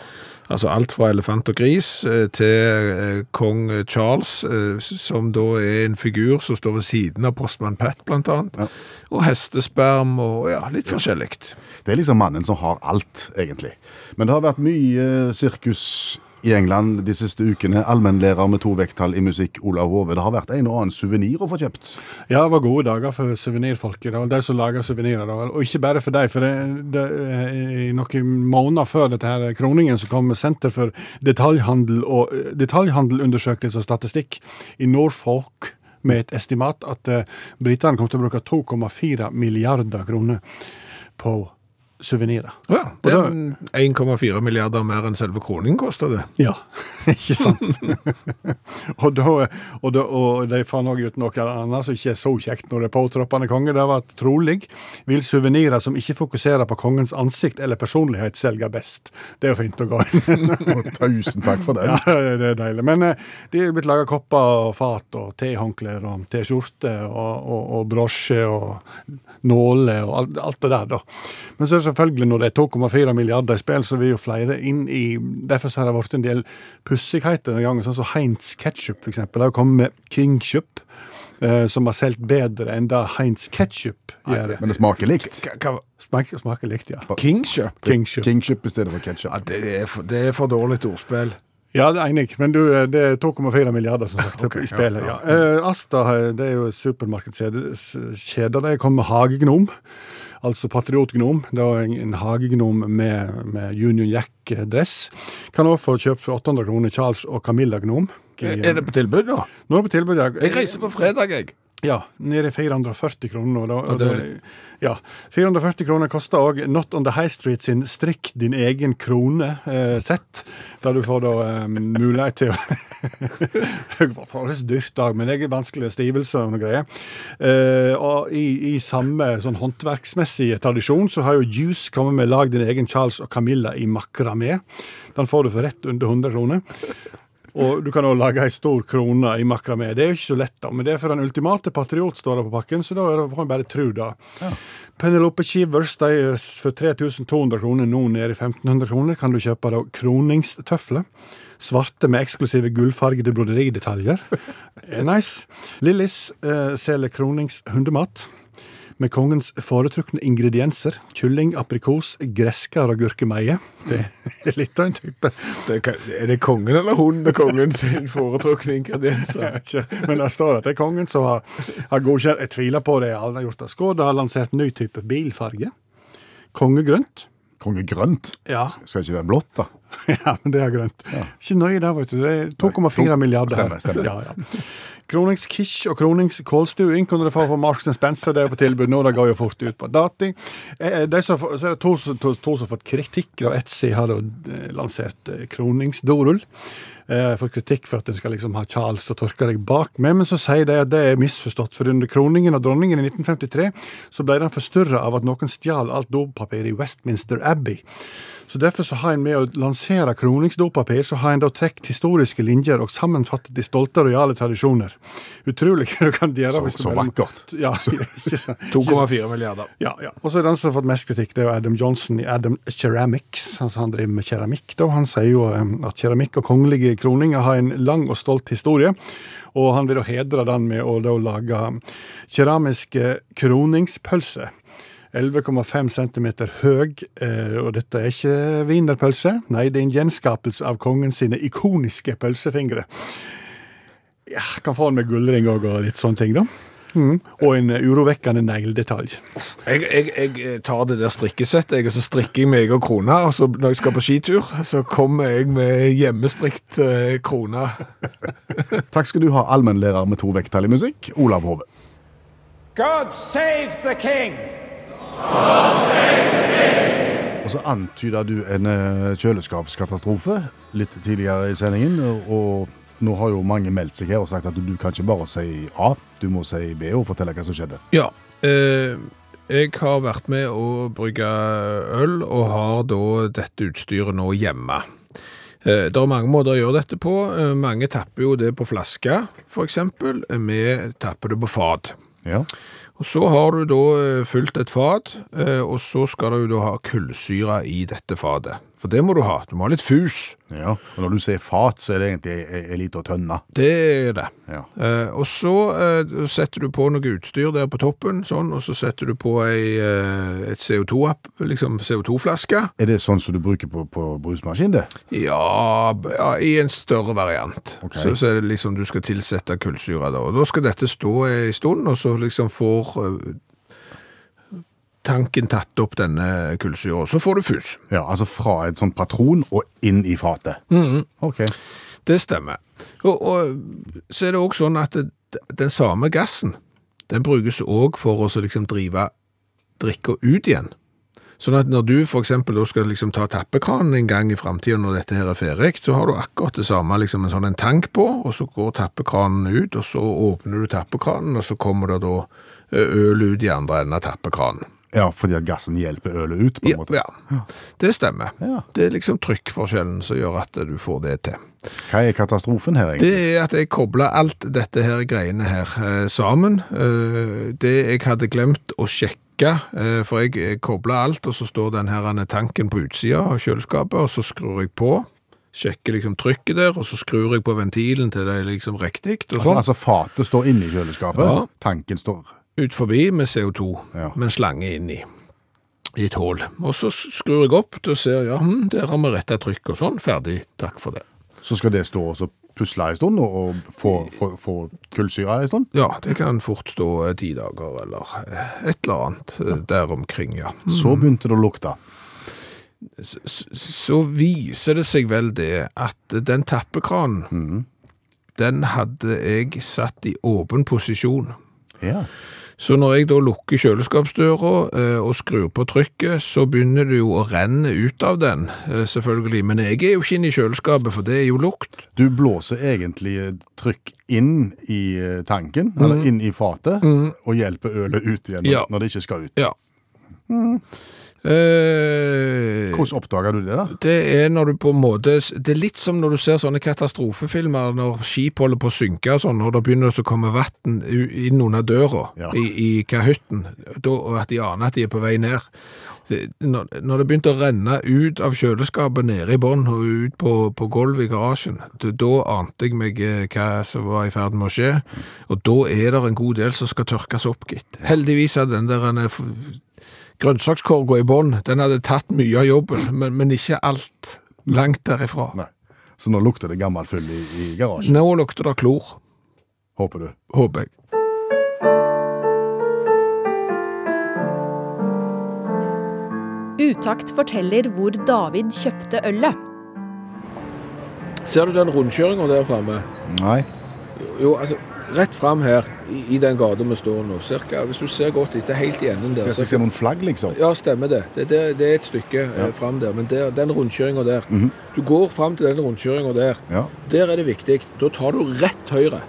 Speaker 3: Altså alt fra elefant og gris eh, til eh, kong Charles, eh, som da er en figur som står ved siden av postmann Pat, blant annet, og hestesperm og ja, litt forskjellig.
Speaker 4: Det er liksom mannen som har alt, egentlig. Men det har vært mye eh, sirkus i England de siste ukene. Allmennlærer med to vekttall i musikk, Olav Hove. Det har vært en og annen suvenir å få kjøpt.
Speaker 7: Ja, det var gode dager for suvenirfolket, da. de som lager suvenirer. da. Og ikke bare for dem, for det, det, eh, i noen måneder før dette her kroningen så kom Senter for detaljhandel og eh, detaljhandelundersøkelse og statistikk i Norfolk med et estimat at eh, britene kom til å bruke 2,4 milliarder kroner på suvenirer.
Speaker 3: Ja,
Speaker 7: Og
Speaker 3: det
Speaker 7: da-
Speaker 3: er en 1,4 milliarder mer enn selve kroningen koster det.
Speaker 7: Ja, ikke sant? og, da, og, da, og de fant òg ut noe annet som ikke er så kjekt når det er påtroppende konge. Det var at trolig vil suvenirer som ikke fokuserer på kongens ansikt eller personlighet, selge best. Det er jo fint å gå inn.
Speaker 4: Og Tusen takk for den.
Speaker 7: ja, det er deilig. Men eh, de er blitt laga kopper og fat og tehåndklær og T-skjorter og, og, og brosje og nåler og alt, alt det der, da. Men så er det selvfølgelig, når det er 2,4 milliarder i spill, så vil jo flere inn i Derfor så har det blitt en del pussigheter denne gangen, sånn som Heinz Ketchup, for eksempel. Det har jo kommet med Kingchup, eh, som har solgt bedre enn det Heinz Ketchup gjør.
Speaker 4: Men det smaker likt.
Speaker 7: Smaker, smaker likt, ja.
Speaker 3: Kingship?
Speaker 7: Kingchup.
Speaker 4: Kingship i stedet for ketsjup.
Speaker 3: det, er for, det er for dårlig ordspill.
Speaker 7: Ja, det er enig, men du, eh, det er 2,4 milliarder som sagt,
Speaker 3: Ok,
Speaker 7: i spillet. Ja, Eh, Asta eh, det er jo et supermarkedskjede. s- kjede. De kom med hagegnom, altså patriotgnom. Det er en, en hagegnom med, med Union Jack-dress. Kan også få kjøpt for 800 kroner Charles og Camilla-gnom.
Speaker 3: Er det på tilbud nå?
Speaker 7: Nå er det på tilbud, ja.
Speaker 3: Jeg reiser på fredag, jeg.
Speaker 7: Ja, nede i 440 kroner. Og da, og
Speaker 3: det var
Speaker 7: det- ja, 440 kroner koster òg Not On The High Street sin Strikk din egen krone-sett, der du får da eh, mulighet til å Det var faktisk dyrt, dag, men jeg er vanskelig stivelse og noe greier. Eh, og i, I samme sånn håndverksmessige tradisjon så har jo Juice kommet med Lag din egen Charles og Camilla i makramé. Den får du for rett under 100 kroner. Og du kan òg lage ei stor krone i makramé. Det er jo ikke så lett, da, men det er for den ultimate patriot, står det på pakken, så da er det- får en bare tro det. Penelope Shivers de er s- for 3200 kroner, nå nede i 1500 kroner, kan du kjøpe da kroningstøfler. Svarte med eksklusive gullfargede broderidetaljer. Eh, Nice. Lillis eh, selger Kronings hundemat. Med kongens foretrukne ingredienser. Kylling, aprikos, gresskar og gurkemeie. Det er litt av en type.
Speaker 3: Det kan- er det kongen eller hunden til kongen sin foretrukne ingredienser?
Speaker 7: ikke. Men det står at det er kongen som har, har godkjent Jeg tviler på det. Alle har gjort det. Skoda har lansert ny type bilfarge. Kongegrønt.
Speaker 4: Konge grønt?
Speaker 7: Ja.
Speaker 4: Skal ikke det være blått, da?
Speaker 7: ja, men det er grønt. Ikke nøye der, vet du. Det er 2,4
Speaker 4: to-
Speaker 7: milliarder her.
Speaker 4: stemmer, stemmer.
Speaker 7: Ja, ja. Kronings Kish og Kronings Kålstuing kunne du få på Marks Spencer. Det er på tilbud nå. Det går jo fort ut på dating. Eh, eh, De som, får- så er det to, som- to, to som har fått kritikk av Etsy, har da eh, lansert eh, Kroningsdorull. Eh, fått kritikk for at en skal liksom ha Charles og tørke deg bak med, men så sier de at det er misforstått. For under kroningen av dronningen i 1953 så ble den forstyrra av at noen stjal alt dopapir i Westminster Abbey. Så Derfor så har en med å lansere kroningsdopapir så har en da trukket historiske linjer og sammenfattet de stolte rojale tradisjoner. Utrolig hva du kan gjøre.
Speaker 4: Så-
Speaker 7: hvis du
Speaker 4: så
Speaker 7: bare-
Speaker 4: vakkert.
Speaker 7: Ja, ikke sant?
Speaker 3: 2,4 milliarder.
Speaker 7: Ja, ja. Og så er den som har fått mest kritikk, det er jo Adam Johnson i Adam Ceramics. Altså han driver med keramikk, da. Han sier jo eh, at keramikk og kongelige kroninger har en lang og stolt historie. Og han vil da hedre den med å da lage eh, keramiske kroningspølser. 11,5 cm høy, eh, og dette er ikke wienerpølse. Nei, det er en gjenskapelse av kongen sine ikoniske pølsefingre. Ja, kan få den med gullring òg og litt sånne ting, da. Mm. Og en eh, urovekkende negledetalj.
Speaker 3: Jeg, jeg, jeg tar det der strikkesettet, jeg, og så strikker jeg meg og krona. Og så når jeg skal på skitur, så kommer jeg med hjemmestrikt eh, krone.
Speaker 4: Takk skal du ha, allmennlærer med to vekttall i musikk, Olav Hove.
Speaker 6: God save the king!
Speaker 4: Og så antyda du en eh, kjøleskapskatastrofe litt tidligere i sendingen. Og nå har jo mange meldt seg her og sagt at du kan ikke bare si A, du må si B og fortelle hva som skjedde.
Speaker 3: Ja. Eh, jeg har vært med å brygge øl, og har da dette utstyret nå hjemme. Eh, det er mange måter å gjøre dette på. Eh, mange tapper jo det på flaske, f.eks. Vi tapper det på fat.
Speaker 4: Ja.
Speaker 3: Og så har du da eh, fylt et fat, eh, og så skal du da ha kullsyre i dette fatet. For det må du ha. Du må ha litt fus.
Speaker 4: ja. Og når du sier fat, så er det egentlig e, ei- ei ei lita tønne.
Speaker 3: Det er det.
Speaker 4: Ja.
Speaker 3: Eh, og så eh, setter du på noe utstyr der på toppen, sånn, og så setter du på ei, eh, et CO2-app, liksom CO2-flaske.
Speaker 4: Er det sånn som du bruker på, på brusmaskin, det?
Speaker 3: Ja, b- ja, i en større variant.
Speaker 4: Ok.
Speaker 3: Så, så er det liksom du skal tilsette kullsyre da. Og da skal dette stå en stund, og så liksom får eh, tanken tatt opp denne kullsyra. Så får du fus.
Speaker 4: Ja, altså fra en sånn patron og inn i fatet.
Speaker 3: Mm.
Speaker 4: Ok.
Speaker 3: Det stemmer. Og, og så er det òg sånn at det, den samme gassen den brukes òg for å så liksom drive drikka ut igjen. Sånn at når du f.eks. skal liksom ta tappekranen en gang i framtida når dette her er ferdig, så har du akkurat det samme, liksom en sånn en tank på, og så går tappekranen ut, og så åpner du tappekranen, og så kommer det da eh, øl ut i andre enden av tappekranen.
Speaker 4: Ja, fordi at gassen hjelper ølet ut, på en
Speaker 3: Ja,
Speaker 4: måte.
Speaker 3: ja, det stemmer.
Speaker 4: Ja.
Speaker 3: Det er liksom trykkforskjellen som gjør at eh, du får det til.
Speaker 4: Hva er katastrofen her, egentlig?
Speaker 3: Det er at jeg kobla alt dette her greiene her eh, sammen. Eh, det jeg hadde glemt å sjekke, eh, for jeg kobla alt, og så står den her ene tanken på utsida av kjøleskapet, og så skrur jeg på. Sjekker liksom trykket der, og så skrur jeg på ventilen til det er liksom riktig. Og
Speaker 4: Altså,
Speaker 3: sånn.
Speaker 4: altså fatet står inne i kjøleskapet,
Speaker 3: Ja.
Speaker 4: tanken står
Speaker 3: Ut forbi med CO2,
Speaker 4: altså- Ja.
Speaker 3: med en slange inni. I et hull. Og så skrur jeg opp og ser jeg, ja, hm, der har vi retta trykk og sånn. Ferdig. Takk for det.
Speaker 4: Så skal det stå og så pusle en stund, og, og få, få, få kullsyre en stund.
Speaker 3: Ja, det kan fort stå eh, ti dager eller eh, et eller annet eh, der omkring, ja.
Speaker 4: Så begynte det å lukte.
Speaker 3: S- s- Så viser det seg vel det at den tappekranen, den hadde jeg satt i åpen posisjon.
Speaker 4: Ja.
Speaker 3: Så når jeg da lukker kjøleskapsdøra eh, og skrur på trykket, så begynner det jo å renne ut av den, eh, selvfølgelig. Men jeg er jo ikke inne i kjøleskapet, for det er jo lukt.
Speaker 4: Du blåser egentlig eh, trykk inn i eh, tanken, eller inn i fatet, og hjelper ølet ut igjen
Speaker 3: Mm. Ja.
Speaker 4: når det ikke skal ut.
Speaker 3: Ja. Eh,
Speaker 4: Hvordan oppdager du det, da?
Speaker 3: det er når du på en måte Det er litt som når du ser sånne katastrofefilmer når skip holder på å synke og sånn, og det begynner å komme vann inn under døra
Speaker 4: Ja.
Speaker 3: i, i kahytten, da- og at de aner at de er på vei ned. Det- Når når det begynte å renne ut av kjøleskapet nede i bånn og ut på, på gulvet i garasjen, da- da ante jeg meg eh, hva som var i ferd med å skje. Og da er det en god del som skal tørkes opp, gitt. Heldigvis hadde den der en, eh, f- grønnsakskorga i bånn, den hadde tatt mye av jobben, men, men ikke alt langt derifra.
Speaker 4: Nei. Så nå lukter det gammel fyll i, i garasjen,
Speaker 3: Nå lukter det klor,
Speaker 4: håper du.
Speaker 3: håper jeg.
Speaker 10: Utakt forteller hvor David kjøpte ølet.
Speaker 3: Ser du den rundkjøringa der framme?
Speaker 4: Nei.
Speaker 3: Jo, altså, rett fram her, i, i den gata vi står nå, cirka, hvis du ser godt etter, helt i enden der.
Speaker 4: Jeg skal se noen flagg, liksom.
Speaker 3: Ja, stemmer det. Det, det, det er et stykke ja. fram der. Men der, den rundkjøringa der Du går fram til den rundkjøringa der.
Speaker 4: Ja.
Speaker 3: Der er det viktig. Da tar du rett høyre.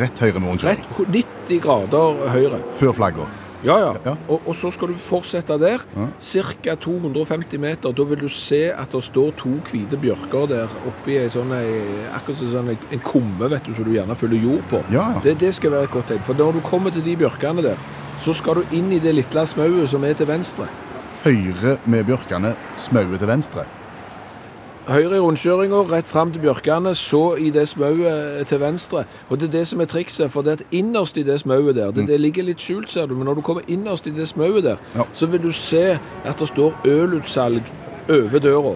Speaker 4: Rett høyre med rundkjøring.
Speaker 3: Rett ho- 90 grader høyre.
Speaker 4: Før flagga.
Speaker 3: Ja, ja.
Speaker 4: Ja.
Speaker 3: Og, og så skal du fortsette der. Ca. 250 meter. Da vil du se at det står to hvite bjørker der oppi ei sånn ei- Akkurat som sånn ei- en kumme, vet du, som du gjerne fyller jord på.
Speaker 4: Ja, ja.
Speaker 3: Det, det skal være et godt tegn. For når du kommer til de bjørkene der, så skal du inn i det lille smauet som er til venstre.
Speaker 4: Høyre med bjørkene, smauet til venstre.
Speaker 3: Høyre i rundkjøringa, rett fram til bjørkene, så i det smauet eh, til venstre. Og det er det som er trikset, for det at innerst i det smauet der det, det ligger litt skjult, ser du, men når du kommer innerst i det smauet der,
Speaker 4: Ja.
Speaker 3: så vil du se at det står ølutsalg over døra.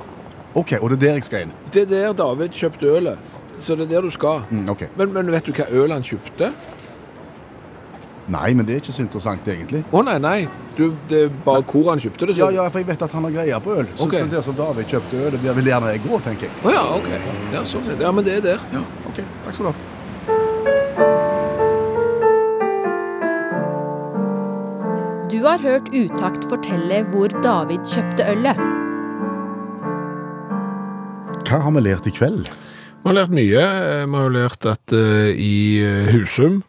Speaker 4: OK, og det er der jeg skal inn.
Speaker 3: Det er der David kjøpte ølet. Så det er der du skal.
Speaker 4: Mm, ok.
Speaker 3: Men, men vet du hva øl han kjøpte?
Speaker 4: Nei, men det er ikke så interessant, egentlig.
Speaker 3: Å nei, nei. Du, det er bare hvor han kjøpte det.
Speaker 4: Ja,
Speaker 3: så-
Speaker 4: ja, for jeg vet at han har greie på øl. Så,
Speaker 3: Ok.
Speaker 4: så der som David kjøpte øl, der vil gjerne jeg gå, tenker jeg.
Speaker 3: Å ja, OK. Ja, sånn sett. Ja, men det er der.
Speaker 4: Ja, ok. Takk skal du ha.
Speaker 10: Du har hørt Utakt fortelle hvor David kjøpte ølet.
Speaker 4: Hva har vi lært i kveld?
Speaker 3: Vi har lært mye. Eh, Vi har jo lært at eh, i eh, Husum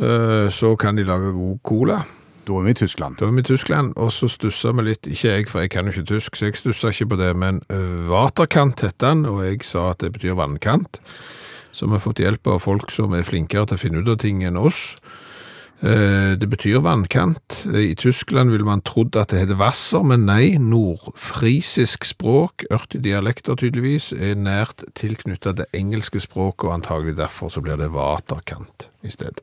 Speaker 3: eh, så kan de lage god cola.
Speaker 4: Da er vi i Tyskland.
Speaker 3: Da var vi i Tyskland, og så stussa vi litt. Ikke jeg, for jeg kan jo ikke tysk, så jeg stussa ikke på det. Men eh, Vaterkant het den, og jeg sa at det betyr vannkant. Så vi har fått hjelp av folk som er flinkere til å finne ut av ting enn oss. Eh, Det betyr vannkant. Eh, I Tyskland ville man trodd at det heter Wasser, men nei. Nordfrisisk språk, ørtige dialekter tydeligvis, er nært tilknyttet det engelske språket, og antagelig derfor så blir det Vaterkant i stedet.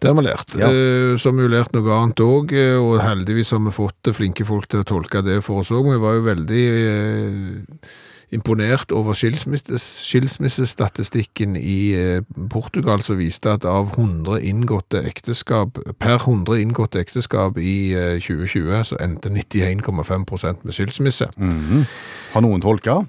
Speaker 3: Det har vi lært.
Speaker 4: Ja.
Speaker 3: Eh, Så har vi jo lært noe annet òg, og heldigvis har vi fått flinke folk til å tolke det for oss òg. Vi var jo veldig eh, imponert over skilsmisse, skilsmissestatistikken i eh, Portugal, som viste at av 100 inngåtte ekteskap, per 100 inngåtte ekteskap i eh, 2020, så endte 91,5 med skilsmisse.
Speaker 4: Har noen tolka?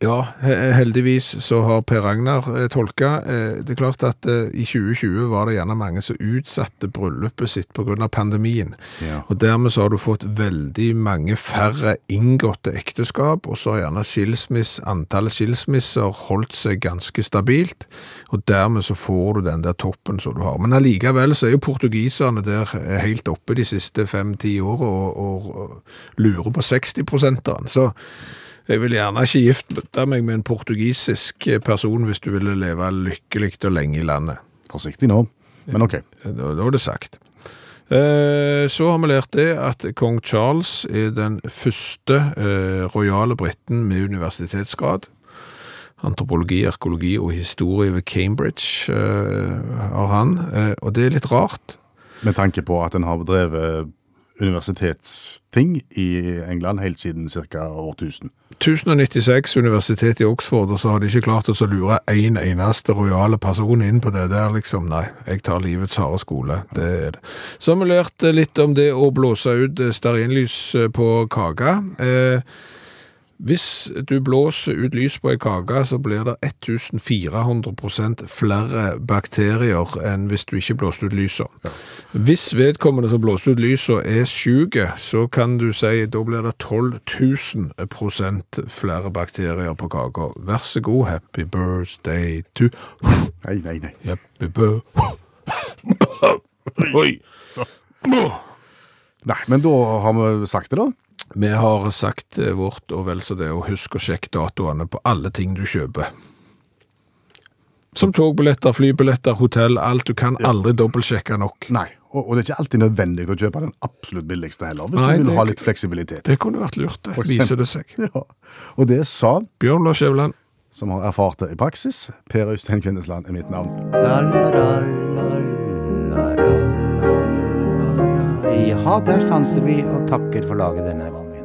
Speaker 3: Ja, he- heldigvis så har Per Ragnar eh, tolka. Eh, Det er klart at eh, i 2020 var det gjerne mange som utsatte bryllupet sitt pga. pandemien.
Speaker 4: Ja.
Speaker 3: Og dermed så har du fått veldig mange færre inngåtte ekteskap, og så har gjerne skilsmiss, antallet skilsmisser holdt seg ganske stabilt, og dermed så får du den der toppen som du har. Men allikevel så er jo portugiserne der eh, helt oppe de siste fem-ti åra og, og, og lurer på 60-prosenteren. Så jeg vil gjerne ikke gifte meg med en portugisisk person hvis du ville leve lykkelig og lenge i landet.
Speaker 4: Forsiktig nå. Men OK.
Speaker 3: Da, da er det sagt. Eh, Så har vi lært det at kong Charles er den første eh, rojale briten med universitetsgrad. Antropologi, arkeologi og historie ved Cambridge eh, har han. Eh, og det er litt rart.
Speaker 4: Med tanke på at en har drevet universitetsting i England helt siden ca. årtusen.
Speaker 3: 1096 universitet i Oxford, og så har de ikke klart å så lure en eneste rojale person inn på det der, liksom. Nei, jeg tar livets harde skole. Det er det. Så har vi lært eh, litt om det å blåse ut eh, stearinlys eh, på kaka. Eh, hvis du blåser ut lys på en kake, så blir det 1400 flere bakterier enn hvis du ikke blåste ut lyset. Hvis vedkommende som blåser ut lyset er syke, så kan du si da blir det 12 000 flere bakterier på kaka. Vær så god, happy birthday to
Speaker 4: Nei, nei, nei.
Speaker 3: Happy birthday Oi!
Speaker 4: Nei, Men da har vi sagt det, da.
Speaker 3: Vi har sagt eh, vårt og vel så det, og husk å sjekke datoene på alle ting du kjøper. Som togbilletter, flybilletter, hotell, alt. Du kan aldri dobbeltsjekke nok.
Speaker 4: Nei. Og, og det er ikke alltid nødvendig å kjøpe den absolutt billigste heller, hvis
Speaker 3: Nei,
Speaker 4: du
Speaker 3: det-
Speaker 4: vil ha litt fleksibilitet.
Speaker 3: Det kunne vært lurt, det.
Speaker 4: For eksempel.
Speaker 3: Viser det seg.
Speaker 4: Ja. Og det sa,
Speaker 3: Bjørn Lars Skjæveland.
Speaker 4: som har erfart det i praksis, Per Øystein Kvindesland er mitt navn.
Speaker 2: La, la, la, la, la, la, la. Ja, der stanser vi og takker for laget denne gangen.